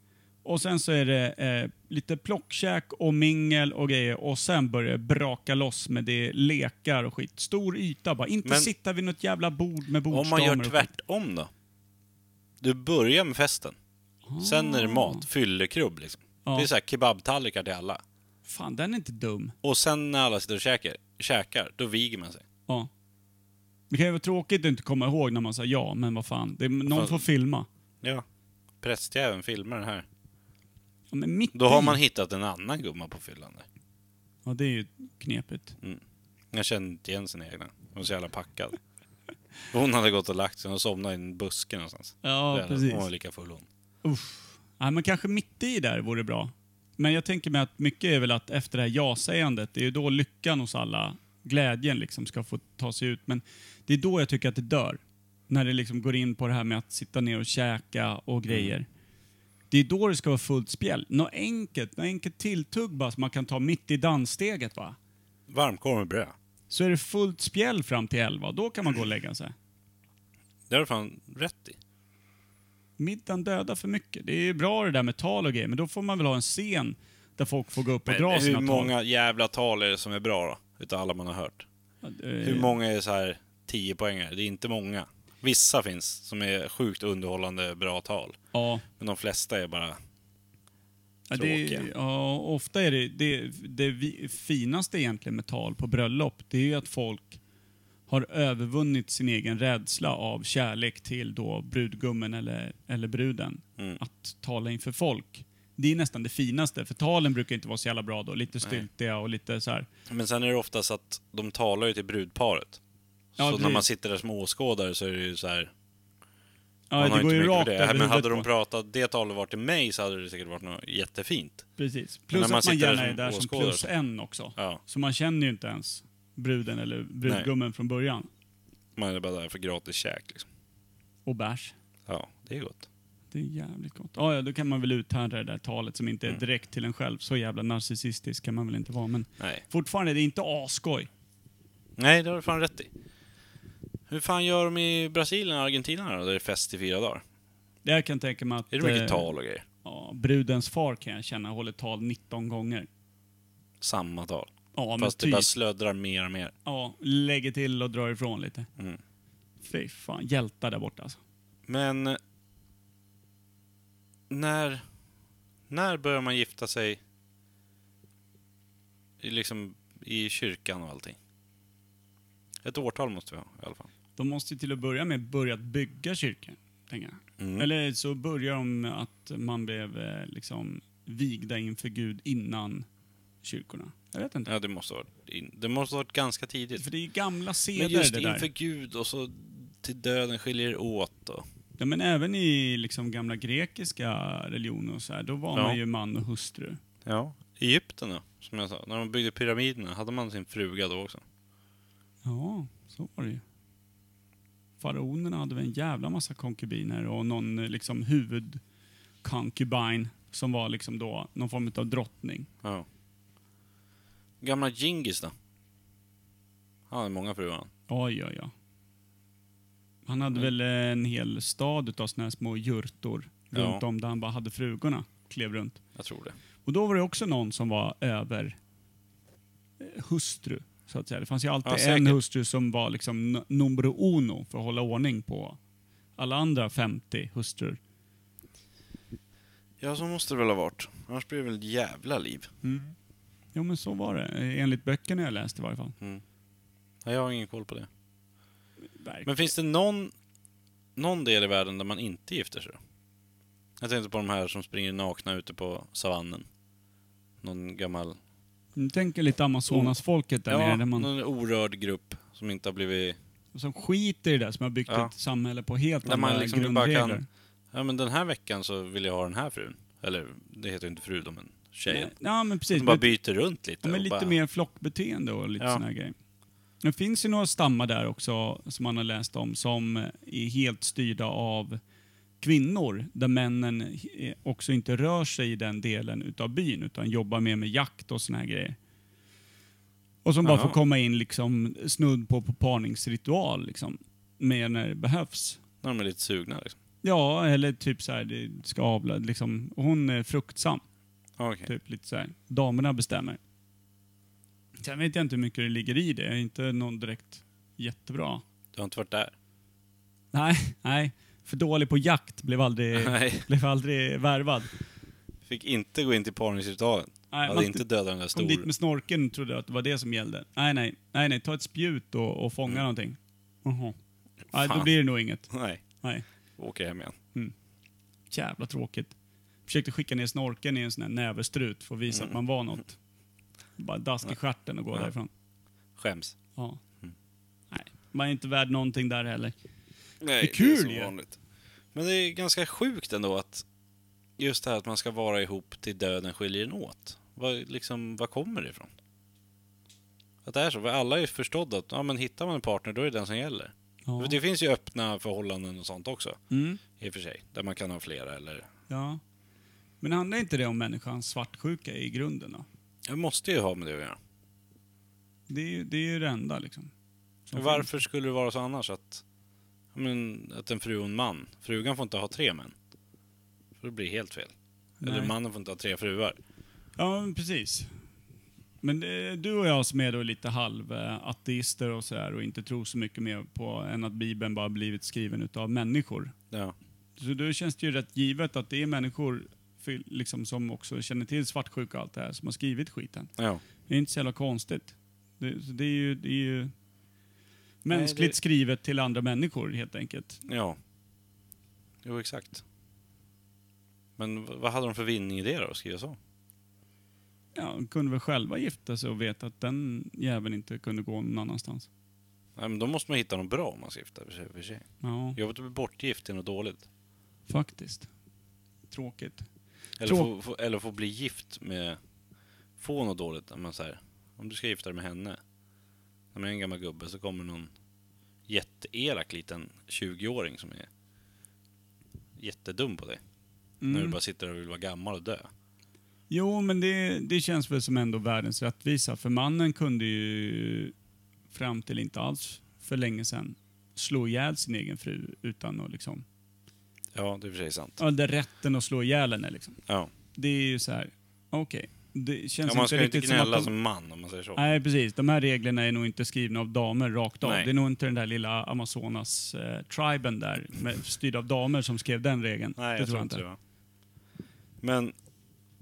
Speaker 1: Och sen så är det eh, lite plockkäk och mingel och grejer och sen börjar det braka loss med det lekar och skit. Stor yta bara. Inte
Speaker 2: Men-
Speaker 1: sitta vid något jävla bord med
Speaker 2: Om
Speaker 1: bordsdamer
Speaker 2: man gör
Speaker 1: och skit.
Speaker 2: tvärtom då? Du börjar med festen. Sen är det mat, fyllekrubb liksom.
Speaker 1: Ah. Ja.
Speaker 2: Det är så här kebabtallrikar till alla.
Speaker 1: Fan, den är inte dum.
Speaker 2: Och sen när alla sitter och käkar, käkar då viger man sig.
Speaker 1: Ja. Det kan ju vara tråkigt att inte komma ihåg när man säger ja, men vad fan. Det, någon
Speaker 2: Fan.
Speaker 1: får filma.
Speaker 2: Ja. Prästjäveln filmar den här.
Speaker 1: Ja, men mitt
Speaker 2: Då har
Speaker 1: i-
Speaker 2: man hittat en annan gumma på fyllan där.
Speaker 1: Ja, det är ju knepigt.
Speaker 2: Jag kände inte igen sin egna. Hon var så jävla packad. Hon hade gått och lagt sig och somnat i en buske någonstans.
Speaker 1: Ja,
Speaker 2: Där,
Speaker 1: precis.
Speaker 2: Hon var lika full hon.
Speaker 1: Uff. Ja, men kanske mitt i där vore bra. Men jag tänker mig att mycket är väl att efter det här ja-sägandet, det är ju då lyckan hos alla, glädjen liksom ska få ta sig ut. Men det är då jag tycker att det dör. När det liksom går in på det här med att sitta ner och käka och grejer. Det är då det ska vara fullt spjäll. Något enkelt, något enkelt tilltugg bara som man kan ta mitt i danssteget va.
Speaker 2: Varmkorv med bröd.
Speaker 1: Så är det fullt spjäll fram till elva, då kan man gå och lägga sig.
Speaker 2: Det har du fan rätt i.
Speaker 1: Middagen dödar för mycket. Det är ju bra det där med tal och grejer, men då får man väl ha en scen där folk får gå upp och
Speaker 2: Men
Speaker 1: dra
Speaker 2: hur
Speaker 1: sina
Speaker 2: många
Speaker 1: tal.
Speaker 2: jävla tal är det som är bra då? Utav alla man har hört. Hur många är så här 10 poängar? Det är inte många. Vissa finns som är sjukt underhållande bra tal.
Speaker 1: Ja,
Speaker 2: Men de flesta är bara...
Speaker 1: Ja, det,
Speaker 2: Tråkiga.
Speaker 1: ja, ofta är det, det det vi- finaste egentligen med tal på bröllop, det är ju att folk har övervunnit sin egen rädsla av kärlek till då brudgummen eller, eller bruden.
Speaker 2: Mm.
Speaker 1: Att tala inför folk. Det är nästan det finaste, för talen brukar inte vara så jävla bra då. Lite styltiga och lite så här.
Speaker 2: Men sen är det oftast att de talar ju till brudparet.
Speaker 1: Ja,
Speaker 2: så
Speaker 1: det-
Speaker 2: när man sitter där som åskådare så är det ju så här...
Speaker 1: Ja,
Speaker 2: Man har
Speaker 1: det går
Speaker 2: inte
Speaker 1: ju
Speaker 2: mycket
Speaker 1: rakt
Speaker 2: för det.
Speaker 1: över
Speaker 2: Men hade
Speaker 1: huvudet
Speaker 2: de
Speaker 1: på-
Speaker 2: pratat det talet var till mig så hade det säkert varit något jättefint.
Speaker 1: Precis.
Speaker 2: när
Speaker 1: Plus
Speaker 2: man
Speaker 1: att man
Speaker 2: sitter där
Speaker 1: gärna är
Speaker 2: som
Speaker 1: där som
Speaker 2: åskådare
Speaker 1: plus
Speaker 2: så-
Speaker 1: en också.
Speaker 2: Ja.
Speaker 1: Så man känner ju inte ens bruden eller brudgummen från början.
Speaker 2: Man är bara där för gratis käk liksom.
Speaker 1: Och bärs.
Speaker 2: Ja, det är gott.
Speaker 1: Det är jävligt gott. Ja, ja, då kan man väl uthärda det där talet som
Speaker 2: Mm.
Speaker 1: inte är direkt till en själv. Så jävla narcissistisk kan man väl inte vara. Men
Speaker 2: Nej.
Speaker 1: fortfarande, det är inte asskoj.
Speaker 2: Nej, det har du fan rätt i. Hur fan gör de i Brasilien och Argentina då? Där det är fest i fyra dagar.
Speaker 1: Det här kan jag tänka mig att...
Speaker 2: Är det mycket
Speaker 1: eh,
Speaker 2: tal och grejer?
Speaker 1: Ja, brudens far kan jag känna håller tal 19 gånger.
Speaker 2: Samma tal.
Speaker 1: Ja, men
Speaker 2: Fast det
Speaker 1: typ.
Speaker 2: bara slödrar mer och mer.
Speaker 1: Ja, lägger till och drar ifrån lite.
Speaker 2: Mm.
Speaker 1: Fy fan, hjältar där borta alltså.
Speaker 2: Men... eh, När... När börjar man gifta sig? I, liksom i kyrkan och allting. Ett årtal måste vi ha i alla fall.
Speaker 1: De måste ju till att börja med börjat bygga kyrkan, tänker jag.
Speaker 2: Mm.
Speaker 1: Eller så börjar de med att man blev eh, liksom vigda inför Gud innan kyrkorna. Jag vet inte.
Speaker 2: Ja, det måste ha varit, in, det måste ha varit ganska tidigt.
Speaker 1: För det är ju gamla seder
Speaker 2: Men just
Speaker 1: det där.
Speaker 2: inför Gud och så till döden skiljer er åt. Och,
Speaker 1: Ja, men även i liksom gamla grekiska religioner och så här, då var
Speaker 2: Ja.
Speaker 1: man ju man och hustru.
Speaker 2: ja. Egypten då, som jag sa. När de byggde pyramiderna, hade man sin fruga då också?
Speaker 1: Ja, så var det ju. Faraonerna hade väl en jävla massa konkubiner och någon eh, liksom huvudkonkubin som var liksom då någon form av drottning.
Speaker 2: Ja. Gamla Djingis då? Han hade många fruar han.
Speaker 1: Ja, ja, ja. Han hade väl en hel stad utav såna här små jurtor
Speaker 2: Ja.
Speaker 1: runt om där han bara hade frugorna, klev runt.
Speaker 2: Jag tror det.
Speaker 1: Och då var det också någon som var över eh, hustru, så att säga. Det fanns ju alltid
Speaker 2: Ja, säkert.
Speaker 1: en hustru som var liksom n- numero uno för att hålla ordning på alla andra 50 hustrur.
Speaker 2: Ja, så måste det väl ha varit. Annars blir det väl ett jävla liv.
Speaker 1: Jo men så var det, eh, enligt böckerna jag läste i varje fall.
Speaker 2: Nej, jag har ingen koll på det.
Speaker 1: Verkligen.
Speaker 2: Men finns det någon, någon del i världen där man inte gifter sig då? Jag tänkte på de här som springer nakna ute på savannen. Någon gammal...
Speaker 1: Nu tänker lite Amazonasfolket där
Speaker 2: ja,
Speaker 1: nere, där man,
Speaker 2: någon orörd grupp som inte har blivit...
Speaker 1: som skiter i det där, som har byggt
Speaker 2: Ja.
Speaker 1: ett samhälle på helt
Speaker 2: Där
Speaker 1: andra
Speaker 2: man liksom bara
Speaker 1: grundregler.
Speaker 2: kan... Ja, men den här veckan så vill jag ha den här frun. Eller, det heter ju inte fru då, men tjejen.
Speaker 1: Ja, men precis.
Speaker 2: De bara
Speaker 1: Typ, Men-
Speaker 2: byter runt lite.
Speaker 1: Ja, men
Speaker 2: och
Speaker 1: lite
Speaker 2: bara,
Speaker 1: mer flockbeteende och lite
Speaker 2: Ja.
Speaker 1: såna här grejer. Det finns ju några stammar där också som man har läst om som är helt styrda av kvinnor där männen eh, också inte rör sig i den delen utav byn utan jobbar mer med jakt och såna här grejer. Och som bara
Speaker 2: Jaha.
Speaker 1: får komma in liksom snudd på på parningsritual liksom. Mer när det behövs.
Speaker 2: När de är lite sugna liksom.
Speaker 1: Ja, eller typ så här, det ska avla, liksom. Hon är fruktsam.
Speaker 2: Ja, Ah, okej.
Speaker 1: Typ lite så här. damerna bestämmer. Sen vet jag inte hur mycket det ligger i det. Jag är inte någon direkt jättebra.
Speaker 2: Du har inte varit där?
Speaker 1: Nej, nej. För dålig på jakt, blev aldrig,
Speaker 2: Nej.
Speaker 1: blev aldrig värvad.
Speaker 2: Fick inte gå in till parningsritualen.
Speaker 1: Nej,
Speaker 2: Hade
Speaker 1: man typ-
Speaker 2: inte dödat den där
Speaker 1: Kom dit
Speaker 2: stora.
Speaker 1: med snorken trodde jag att det var det som gällde. Nej, nej. Nej, nej. Ta ett spjut och, och fånga någonting. Jaha. Nej,
Speaker 2: Mm. Fan.
Speaker 1: då blir det nog inget.
Speaker 2: Nej,
Speaker 1: Nej.
Speaker 2: åker hem igen.
Speaker 1: Jävla tråkigt. Försökte skicka ner snorken i en sån här näverstrut för att visa
Speaker 2: Mm.
Speaker 1: att man var något. Bara dask i stjärten och gå
Speaker 2: Ja.
Speaker 1: därifrån.
Speaker 2: Skäms.
Speaker 1: Ja. Nej, man är inte värd någonting där heller.
Speaker 2: Nej,
Speaker 1: Det är kul
Speaker 2: som
Speaker 1: ju.
Speaker 2: vanligt. Men det är ganska sjukt ändå att just det här att man ska vara ihop till döden skiljer en åt. Vad, liksom, vad kommer det ifrån? Att det är så? För alla har ju förstått att ja, men hittar man en partner då är det den som gäller.
Speaker 1: Ja.
Speaker 2: För det finns ju öppna förhållanden och sånt också.
Speaker 1: Mm.
Speaker 2: I och för sig. Där man kan ha flera eller...
Speaker 1: ja. Men handlar inte det om människans svartsjuka i grunden då?
Speaker 2: Jag måste ju ha med det att göra.
Speaker 1: Det är ju det, är ju det enda liksom. som
Speaker 2: Men varför skulle det vara så annars att... ja, Men, att en fru och en man. Frugan får inte ha tre män. För det blir helt fel.
Speaker 1: finns.
Speaker 2: Eller
Speaker 1: Nej.
Speaker 2: mannen får inte ha tre fruar.
Speaker 1: Ja, men precis. Men eh, du och jag som är då lite halv eh, ateister och så här och inte tror så mycket mer på än att Bibeln bara blivit skriven utav människor.
Speaker 2: Ja.
Speaker 1: Så då känns det ju rätt givet att det är människor fyll- liksom, som också känner till svartsjuka och allt det här som har skrivit skiten.
Speaker 2: ja.
Speaker 1: Det är inte så jävla konstigt. Det, så det är ju, det är ju mänskligt
Speaker 2: det-
Speaker 1: skrivet till andra människor helt enkelt.
Speaker 2: Ja. Jo, exakt. Men v- vad hade de för vinning i det då, att skriva så?
Speaker 1: Ja, de kunde väl själva gifta sig och veta att den jäveln inte kunde gå någon annanstans.
Speaker 2: Nej, men då måste man hitta något bra om man ska gifta för sig. För sig.
Speaker 1: Ja,
Speaker 2: Jobbigt att bli bortgift är något dåligt.
Speaker 1: faktiskt. Tråkigt.
Speaker 2: Eller
Speaker 1: Trå-
Speaker 2: få, få, eller få bli gift med... Få något dåligt. Om, man så här, om du ska gifta dig med henne, när man är en gammal gubbe, så kommer någon jätteelak liten 20-åring som är jättedum på dig. När du
Speaker 1: Mm.
Speaker 2: bara sitter och vill vara gammal och dö.
Speaker 1: Jo, men det, det känns väl som ändå världens rättvisa. För mannen kunde ju fram till inte alls för länge sedan slå ihjäl sin egen fru utan att liksom...
Speaker 2: Ja, det är i och för sig sant.
Speaker 1: Ja, där rätten att slå ihjäl henne liksom.
Speaker 2: Ja.
Speaker 1: Det är ju så här, okej. Det
Speaker 2: Ja,
Speaker 1: känns
Speaker 2: man
Speaker 1: inte
Speaker 2: ska ju inte
Speaker 1: riktigt som att...
Speaker 2: gnälla
Speaker 1: de-
Speaker 2: som man, om man säger så.
Speaker 1: Nej, precis. De här reglerna är nog inte skrivna av damer rakt av.
Speaker 2: Nej.
Speaker 1: Det är nog inte den där lilla Amazonas-triben där, med, styrd av damer, som skrev den regeln.
Speaker 2: Nej,
Speaker 1: det
Speaker 2: jag tror inte det.
Speaker 1: jag inte.
Speaker 2: va. Men,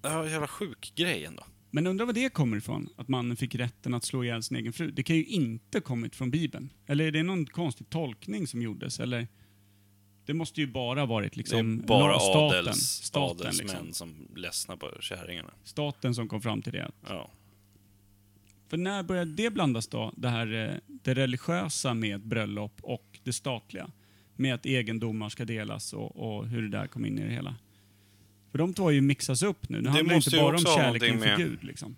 Speaker 2: ja, jävla sjuk grej ändå.
Speaker 1: Men undrar var det kommer ifrån, att mannen fick rätten att slå ihjäl sin egen fru. Det kan ju inte kommit från Bibeln. Eller är det någon konstig tolkning som gjordes? Eller? Det måste ju bara varit
Speaker 2: Det
Speaker 1: liksom...
Speaker 2: är bara
Speaker 1: la- staten,
Speaker 2: adels,
Speaker 1: staten,
Speaker 2: adelsmän
Speaker 1: liksom.
Speaker 2: som ledsnar på kärringarna.
Speaker 1: staten som kom fram till det.
Speaker 2: Ja.
Speaker 1: För när började det blandas då, det här eh, det religiösa med bröllop och det statliga? Med att egendomar ska delas och, och hur det där kom in i det hela. För de två har ju mixats upp nu. Nu handlar det
Speaker 2: måste
Speaker 1: inte
Speaker 2: ju
Speaker 1: bara om
Speaker 2: också ha
Speaker 1: kärlek
Speaker 2: någonting
Speaker 1: inför
Speaker 2: med-
Speaker 1: Gud liksom.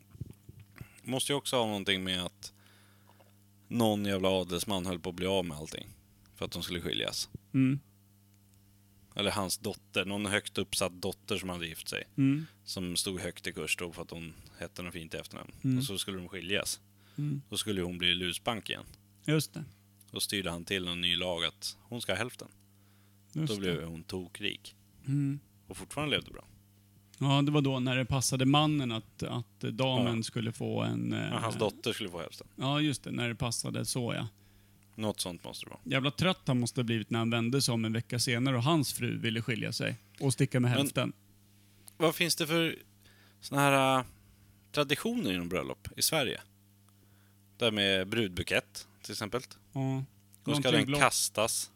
Speaker 2: Måste ju också ha någonting med att någon jävla adelsman höll på att bli av med allting. För att de skulle skiljas.
Speaker 1: Mm,
Speaker 2: Eller hans dotter, någon högt uppsatt dotter som hade gift sig.
Speaker 1: mm,
Speaker 2: Som stod högt i kurs då för att hon hette något fint i efternamn.
Speaker 1: Mm.
Speaker 2: Och så skulle de skiljas.
Speaker 1: mm.
Speaker 2: Då skulle ju hon bli lusbank igen.
Speaker 1: Just det.
Speaker 2: Då styrde han till en ny lag att hon ska ha hälften.
Speaker 1: Just
Speaker 2: Då
Speaker 1: det.
Speaker 2: blev hon tokrik.
Speaker 1: Mm.
Speaker 2: Och fortfarande levde bra.
Speaker 1: Ja, det var då när det passade mannen att, att damen
Speaker 2: Ja.
Speaker 1: skulle få en... eh,
Speaker 2: Ja, hans dotter skulle få hälften.
Speaker 1: Ja, just det. När det passade så ja.
Speaker 2: Något sånt måste det vara.
Speaker 1: Jävla trött han måste ha blivit när han vände sig om en vecka senare och hans fru ville skilja sig och sticka med
Speaker 2: Men-
Speaker 1: hälften.
Speaker 2: Vad finns det för såna här äh, traditioner inom bröllop i Sverige? Där med brudbukett till exempel.
Speaker 1: Ja.
Speaker 2: Då ska
Speaker 1: Någonting
Speaker 2: den
Speaker 1: blått.
Speaker 2: kastas.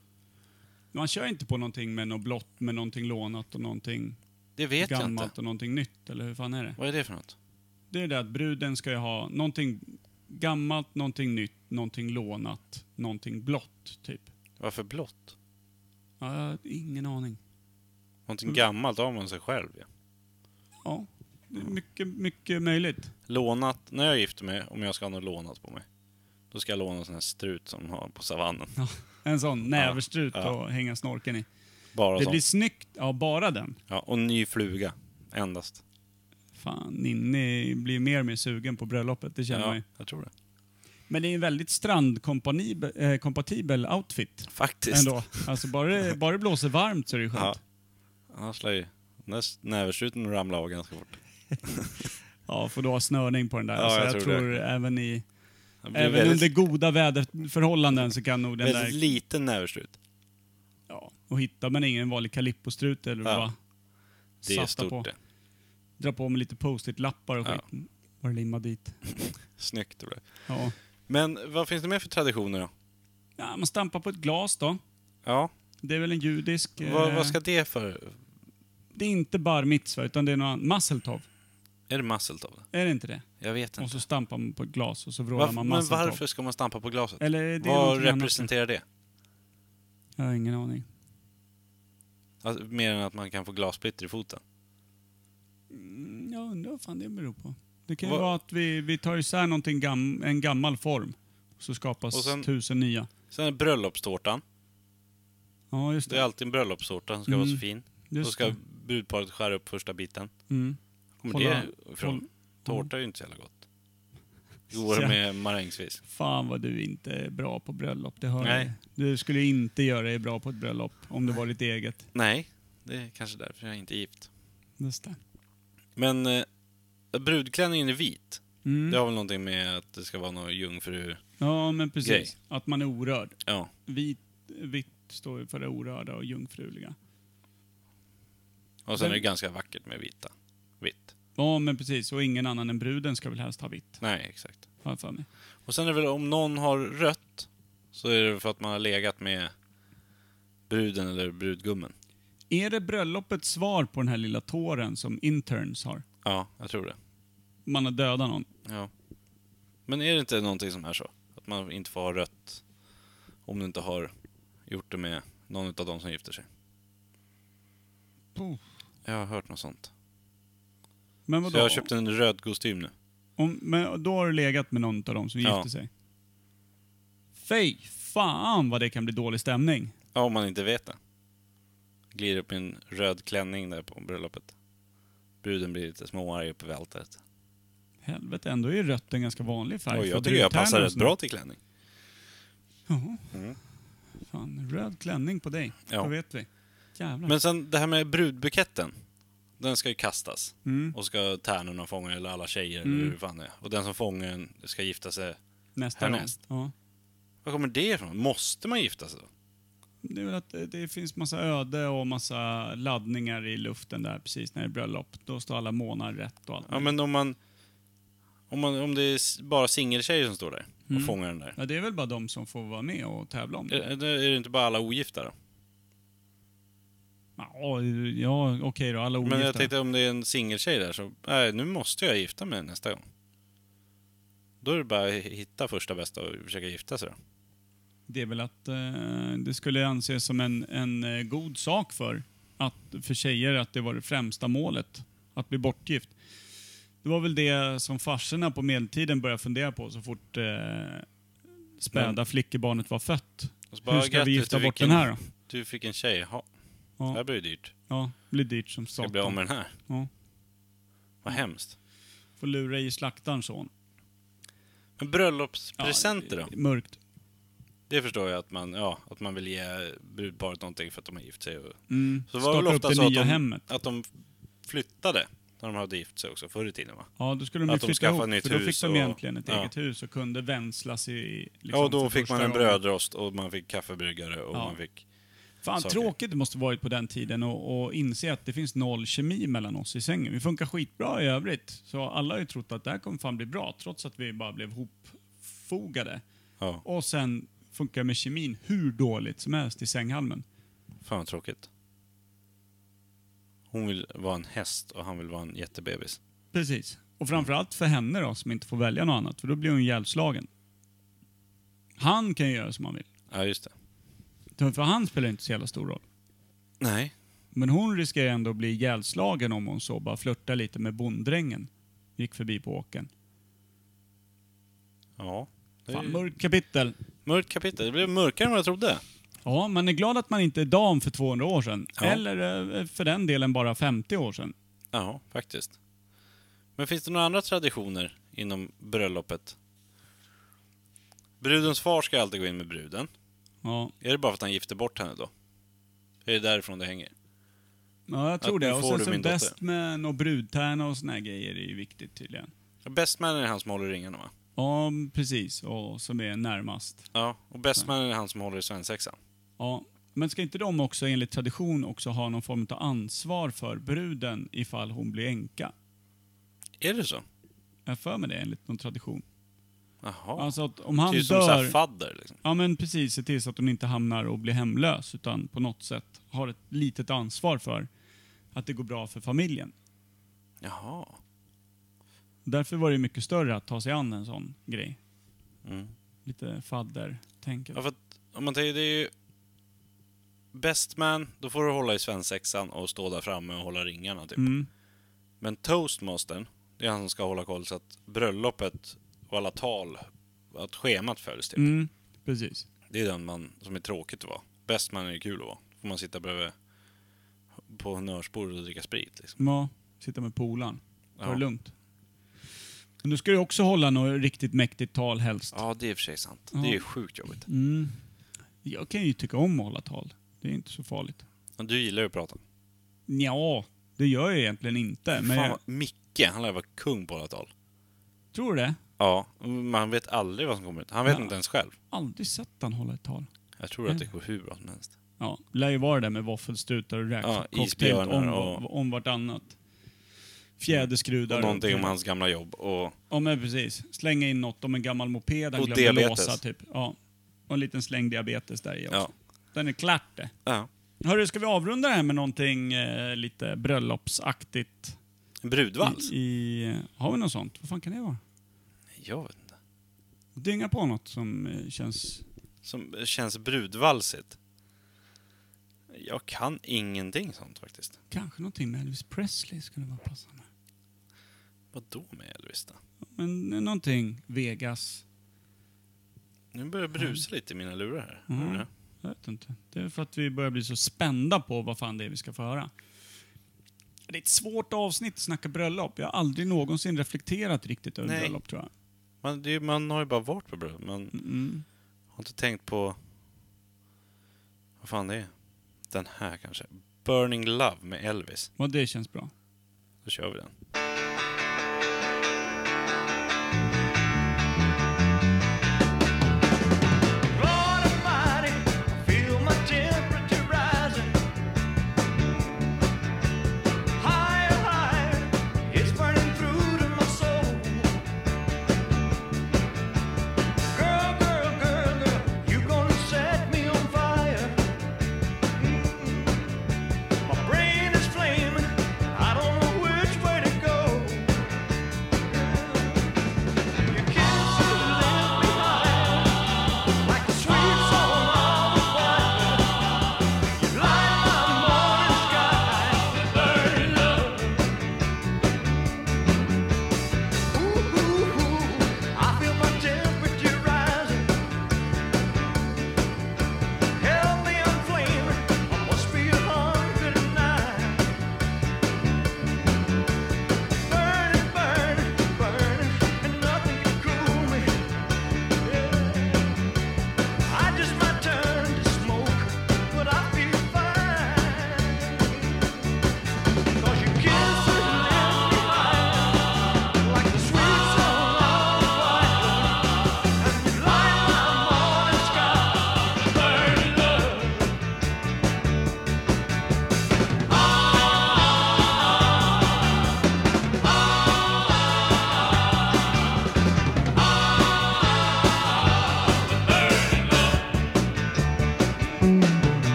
Speaker 1: Man kör inte på någonting med något blått, med någonting lånat och någonting
Speaker 2: Det vet jag
Speaker 1: gammalt
Speaker 2: inte.
Speaker 1: och någonting nytt, eller hur fan är det?
Speaker 2: Vad är det för något?
Speaker 1: Det är det att bruden ska ju ha någonting gammalt, någonting nytt, någonting lånat, någonting blått, typ.
Speaker 2: Varför blått?
Speaker 1: Ja, jag har ingen aning. Mm.
Speaker 2: Någonting gammalt har man sig själv ja.
Speaker 1: Ja, mycket, mycket möjligt.
Speaker 2: Lånat, när jag gifter mig, om jag ska ha något lånat på mig, då ska jag låna en sån här strut som de har på savannen.
Speaker 1: En sån näverstrut
Speaker 2: ja.
Speaker 1: att hänga snorken i.
Speaker 2: Bara
Speaker 1: Det
Speaker 2: sån.
Speaker 1: blir snyggt, ja bara den.
Speaker 2: Ja, och ny fluga, endast.
Speaker 1: Fan, Ninni blir mer och mer sugen på bröllopet, det känner man
Speaker 2: Ja,
Speaker 1: ju.
Speaker 2: jag tror det.
Speaker 1: Men det är en väldigt strandkompatibel eh, kompatibel outfit
Speaker 2: Faktiskt.
Speaker 1: ändå. Alltså bara, det- bara det blåser varmt så är det skönt.
Speaker 2: Ja.
Speaker 1: Ja,
Speaker 2: Annars lär ju den där näverstruten ramla av ganska fort.
Speaker 1: får du ha snörning på den där.
Speaker 2: Ja,
Speaker 1: alltså,
Speaker 2: jag
Speaker 1: jag,
Speaker 2: tror
Speaker 1: tror,
Speaker 2: det.
Speaker 1: även, i,
Speaker 2: Det blir
Speaker 1: även
Speaker 2: väldigt,
Speaker 1: under goda väderförhållanden så kan nog den
Speaker 2: väldigt
Speaker 1: där...
Speaker 2: liten näverstrut.
Speaker 1: Ja, och hittar man ingen vanlig kalippostrut eller
Speaker 2: Ja.
Speaker 1: vad.
Speaker 2: Det är
Speaker 1: Satsa
Speaker 2: stort
Speaker 1: på.
Speaker 2: det.
Speaker 1: Dra på med lite post-it-lappar och
Speaker 2: Ja.
Speaker 1: skit. Bara limma dit.
Speaker 2: Snyggt det blev.
Speaker 1: Ja.
Speaker 2: Men vad finns det mer för traditioner då?
Speaker 1: ja, man stampar på ett glas då.
Speaker 2: Ja,
Speaker 1: Det är väl en judisk...
Speaker 2: vad,
Speaker 1: eh,
Speaker 2: vad ska det för...
Speaker 1: Det är inte bar mitzva, utan det är någon annan. Masseltov.
Speaker 2: Är det masseltov?
Speaker 1: Är det inte det?
Speaker 2: Jag vet
Speaker 1: Och
Speaker 2: inte.
Speaker 1: så stampar man på ett glas och så vrålar
Speaker 2: Varf-
Speaker 1: man
Speaker 2: men
Speaker 1: masseltov.
Speaker 2: varför ska man stampa på glaset?
Speaker 1: Eller är det
Speaker 2: vad
Speaker 1: någonting annat?
Speaker 2: representerar det?
Speaker 1: Jag har ingen aning.
Speaker 2: Alltså, mer än att man kan få glassplitter i foten?
Speaker 1: Mm, Jag undrar vad fan det beror på. Det kan ju
Speaker 2: Vad-
Speaker 1: vara att vi, vi tar isär någonting gam, en gammal form. Så
Speaker 2: Och
Speaker 1: skapas
Speaker 2: sen-
Speaker 1: tusen nya.
Speaker 2: Sen är bröllopstårtan.
Speaker 1: Ja, just
Speaker 2: Det är
Speaker 1: det.
Speaker 2: alltid en bröllopstårta som ska vara så
Speaker 1: Mm,
Speaker 2: fin. Då
Speaker 1: Just
Speaker 2: ska
Speaker 1: det.
Speaker 2: brudparet skära upp första biten.
Speaker 1: Mm.
Speaker 2: Kommer
Speaker 1: Hålla-
Speaker 2: det ifrån?
Speaker 1: håll-
Speaker 2: Tårta är ju inte så jävla gott. Det går
Speaker 1: Ja.
Speaker 2: med marängsvis.
Speaker 1: Fan vad du inte är bra på bröllop, det hör
Speaker 2: Nej.
Speaker 1: jag. Du skulle inte göra dig bra på ett bröllop om det var ditt eget.
Speaker 2: Nej, det är kanske därför jag inte är gift.
Speaker 1: Just det.
Speaker 2: Men eh, brudklänningen är vit.
Speaker 1: Mm.
Speaker 2: Det
Speaker 1: Ja.
Speaker 2: har väl någonting med att det ska vara någon jungfru...
Speaker 1: men precis.
Speaker 2: Grej.
Speaker 1: Att man är orörd.
Speaker 2: Ja,
Speaker 1: Vit, vitt står ju för det orörda och jungfruliga.
Speaker 2: och sen
Speaker 1: Men-
Speaker 2: är det ganska vackert med vita. Vitt.
Speaker 1: Ja, men precis. Och ingen annan än bruden ska väl helst ha vitt,
Speaker 2: Nej, exakt.
Speaker 1: har jag för mig.
Speaker 2: Och sen är det väl om någon har rött så är det för att man har legat med bruden eller brudgummen.
Speaker 1: Är det bröllopets svar på den här lilla tåren som interns har?
Speaker 2: Ja, jag tror det.
Speaker 1: Man har dödat någon.
Speaker 2: Ja. Men är det inte någonting som är så? Att man inte får ha rött om du inte har gjort det med någon av de som gifter sig?
Speaker 1: Puh.
Speaker 2: Jag har hört något sånt.
Speaker 1: Men
Speaker 2: Så
Speaker 1: vadå?
Speaker 2: jag har köpt en röd kostym nu.
Speaker 1: Om, men då har du legat med någon av dem som
Speaker 2: Ja.
Speaker 1: gifte sig? Fy fan vad det kan bli dålig stämning.
Speaker 2: Ja, om man inte vet det. Glider upp i en röd klänning där på bröllopet. Bruden blir lite småarg uppe vid altaret.
Speaker 1: Helvete, ändå är ju rött en ganska vanlig färg.
Speaker 2: Och jag
Speaker 1: för
Speaker 2: tycker jag
Speaker 1: brudtärnor
Speaker 2: passar
Speaker 1: och
Speaker 2: rätt
Speaker 1: sånt där.
Speaker 2: bra till klänning.
Speaker 1: Ja.
Speaker 2: Mm.
Speaker 1: Fan, röd klänning på dig.
Speaker 2: Ja.
Speaker 1: Det vet vi. Jävlar.
Speaker 2: Men sen det här med brudbuketten. Den ska ju kastas.
Speaker 1: mm.
Speaker 2: Och ska tärnorna fånga eller alla tjejer eller
Speaker 1: Mm.
Speaker 2: hur fan det är. Och den som fångar den ska gifta sig.
Speaker 1: Nästa gång.
Speaker 2: härnäst.
Speaker 1: Ja.
Speaker 2: Var kommer det ifrån? Måste man gifta sig då?
Speaker 1: Det är väl att det- det finns massa öde och massa laddningar i luften där precis när det är bröllop. Då står alla månar rätt och allt.
Speaker 2: Ja men om man... Om, man, om det är s- bara singeltjejer som står där och
Speaker 1: Mm.
Speaker 2: fångar den där.
Speaker 1: Ja, det är väl bara de som får vara med och tävla om
Speaker 2: Är,
Speaker 1: det.
Speaker 2: är det- är det inte bara alla ogifta då?
Speaker 1: Ja, ja okej då. Alla ogifta.
Speaker 2: Men jag tänkte om det är en singeltjej där så, nej nu måste jag gifta mig nästa gång. Då är det bara att hitta första bästa och försöka gifta sig då.
Speaker 1: Det är väl att eh, det skulle anses som en, en eh, god sak för, att, för tjejer att det var det främsta målet, att bli bortgift. Det var väl det som farserna på medeltiden började fundera på så fort eh, späda flickebarnet var fött.
Speaker 2: Och så bara,
Speaker 1: Hur ska vi
Speaker 2: "Grattis,
Speaker 1: gifta
Speaker 2: du
Speaker 1: bort
Speaker 2: fick en-
Speaker 1: den här då?
Speaker 2: Du fick en tjej, ja. Det här
Speaker 1: Ja,
Speaker 2: blir ju dyrt.
Speaker 1: ja blir dyrt som
Speaker 2: Ska bli av
Speaker 1: satan.
Speaker 2: med den här.
Speaker 1: Ja.
Speaker 2: Vad hemskt.
Speaker 1: Får lura i slaktarens son.
Speaker 2: Men
Speaker 1: Ja,
Speaker 2: bröllopspresenter då?
Speaker 1: det- Mörkt.
Speaker 2: Det förstår jag att man, ja, att man vill ge brudparet någonting för att de har gift sig. Och,
Speaker 1: Mm.
Speaker 2: Så
Speaker 1: Så
Speaker 2: det var väl
Speaker 1: Starta upp
Speaker 2: ofta
Speaker 1: det
Speaker 2: så att
Speaker 1: nya
Speaker 2: de-
Speaker 1: hemmet.
Speaker 2: att de flyttade när de hade gift sig också, förr i tiden va?
Speaker 1: Ja, då skulle de ju
Speaker 2: att de
Speaker 1: flytta
Speaker 2: skaffade
Speaker 1: ihop,
Speaker 2: nytt
Speaker 1: för då
Speaker 2: hus
Speaker 1: fick de
Speaker 2: och-
Speaker 1: egentligen ett
Speaker 2: ja.
Speaker 1: eget hus och kunde vänslas i... Liksom,
Speaker 2: ja, och då
Speaker 1: för
Speaker 2: fick man
Speaker 1: första
Speaker 2: en
Speaker 1: gången.
Speaker 2: brödrost och man fick kaffebryggare och
Speaker 1: Ja.
Speaker 2: man fick...
Speaker 1: Fan,
Speaker 2: saker.
Speaker 1: tråkigt det måste varit på den tiden och, och inse att det finns noll kemi mellan oss i sängen. Vi funkar skitbra i övrigt. Så alla har ju trott att det här kommer fan bli bra, trots att vi bara blev hopfogade.
Speaker 2: Ja,
Speaker 1: Och sen funkar med kemin hur dåligt som helst i sänghalmen.
Speaker 2: fan vad tråkigt. Hon vill vara en häst och han vill vara en jättebebis.
Speaker 1: Precis. Och framförallt för henne då, som inte får välja något annat, för då blir hon ihjälslagen. Han kan ju göra som han vill.
Speaker 2: Ja, just det.
Speaker 1: För han spelar inte så jävla stor roll.
Speaker 2: Nej.
Speaker 1: Men hon riskerar ändå att bli ihjälslagen om hon så bara flörtar lite med bonddrängen. Gick förbi på åken.
Speaker 2: Ja. Det är
Speaker 1: Fan,
Speaker 2: ju
Speaker 1: mörkt kapitel.
Speaker 2: mörkt kapitel. Det blev mörkare än vad jag trodde.
Speaker 1: Ja, man är glad att man inte är dam för 200 år sedan.
Speaker 2: Ja.
Speaker 1: Eller eh, för den delen bara 50 år sedan.
Speaker 2: Ja, faktiskt. Men finns det några andra traditioner inom bröllopet? Brudens far ska alltid gå in med bruden.
Speaker 1: Ja,
Speaker 2: Är det bara för att han gifter bort henne då? Är det därifrån det hänger?
Speaker 1: ja jag tror
Speaker 2: Att nu
Speaker 1: det. Och
Speaker 2: får
Speaker 1: sen
Speaker 2: du
Speaker 1: så
Speaker 2: min dotter.
Speaker 1: bestman och brudtärna och såna här grejer är ju viktigt tydligen.
Speaker 2: Bestmannen är han som håller i ringarna va?
Speaker 1: Ja, precis. Och som är närmast.
Speaker 2: Ja, och bestmannen är han som håller i svensexan.
Speaker 1: Ja. Men ska inte de också enligt tradition också ha någon form av ansvar för bruden ifall hon blir änka?
Speaker 2: Är det så?
Speaker 1: Jag har för mig det enligt någon tradition.
Speaker 2: Jaha.
Speaker 1: Alltså att om han
Speaker 2: det är ju Typ som så här
Speaker 1: dör...
Speaker 2: fadder liksom.
Speaker 1: Ja men precis, se till så att hon inte hamnar och blir hemlös utan på något sätt har ett litet ansvar för att det går bra för familjen.
Speaker 2: Jaha.
Speaker 1: Därför var det mycket större att ta sig an en sån grej.
Speaker 2: Mm.
Speaker 1: Lite fadder-tänket.
Speaker 2: Ja, för att om man tänker, det är ju... Bestman, då får du hålla i svensexan och stå där framme och hålla ringarna typ.
Speaker 1: Mm.
Speaker 2: Men toastmastern, det är han som ska hålla koll så att bröllopet och alla tal, att schemat följs typ.
Speaker 1: Mm. Precis.
Speaker 2: Det är den man som är tråkigt att vara. Bestman är ju kul att vara. Får man sitta bredvid på honnörsbordet och dricka sprit liksom.
Speaker 1: Ja, sitta med polaren. Ta
Speaker 2: Ja.
Speaker 1: det lugnt. Men du ska ju också hålla något riktigt mäktigt tal helst.
Speaker 2: Ja, det är i och för sig sant.
Speaker 1: Ja.
Speaker 2: Det är ju sjukt jobbigt.
Speaker 1: Mm. Jag kan ju tycka om att hålla tal. Det är inte så farligt.
Speaker 2: Men Du gillar ju att prata.
Speaker 1: Ja, det gör jag egentligen inte. Men
Speaker 2: Fan,
Speaker 1: jag
Speaker 2: vad- Micke, han lär vara kung på alla tal.
Speaker 1: tror det.
Speaker 2: Ja, men han vet aldrig vad som kommer ut. Han vet
Speaker 1: Ja.
Speaker 2: inte ens själv.
Speaker 1: Aldrig sett han hålla ett tal.
Speaker 2: Jag tror att det går hur bra som helst.
Speaker 1: Ja, lär ju vara det med våffelstrutar och
Speaker 2: Ja,
Speaker 1: räkcocktail
Speaker 2: isbjörnar
Speaker 1: om,
Speaker 2: och-
Speaker 1: om vartannat. Fjäderskrudar.
Speaker 2: Och någonting om hans gamla jobb och...
Speaker 1: Ja men precis. Slänga in något om en gammal moped han
Speaker 2: Och
Speaker 1: glömde
Speaker 2: diabetes.
Speaker 1: låsa typ. Ja. Och en liten släng diabetes där i också.
Speaker 2: Ja.
Speaker 1: Den är klart det.
Speaker 2: ja.
Speaker 1: Hörru, ska vi avrunda det här med någonting eh, lite bröllopsaktigt?
Speaker 2: En brudvals?
Speaker 1: I, i, eh, har vi något sånt? Vad fan kan det vara?
Speaker 2: Jag vet inte.
Speaker 1: Dynga på något som eh, känns...
Speaker 2: Som känns brudvalsigt. Jag kan ingenting sånt faktiskt.
Speaker 1: Kanske någonting med Elvis Presley skulle vara passande.
Speaker 2: Vad då med Elvis då?
Speaker 1: Men eh, någonting Vegas.
Speaker 2: Nu börjar det brusa lite i mina lurar här.
Speaker 1: Mm.
Speaker 2: Hör du det?
Speaker 1: Jag vet inte. Det är för att vi börjar bli så spända på vad fan det är vi ska få höra. Det är ett svårt avsnitt att snacka bröllop. Jag har aldrig någonsin reflekterat riktigt över
Speaker 2: Nej.
Speaker 1: bröllop tror jag.
Speaker 2: Man, det, är ju- man har ju bara varit på bröllop. Man
Speaker 1: Mm.
Speaker 2: har inte tänkt på... Vad fan det är. Den här kanske. Burning Love med Elvis.
Speaker 1: Och det känns bra.
Speaker 2: Då kör vi den.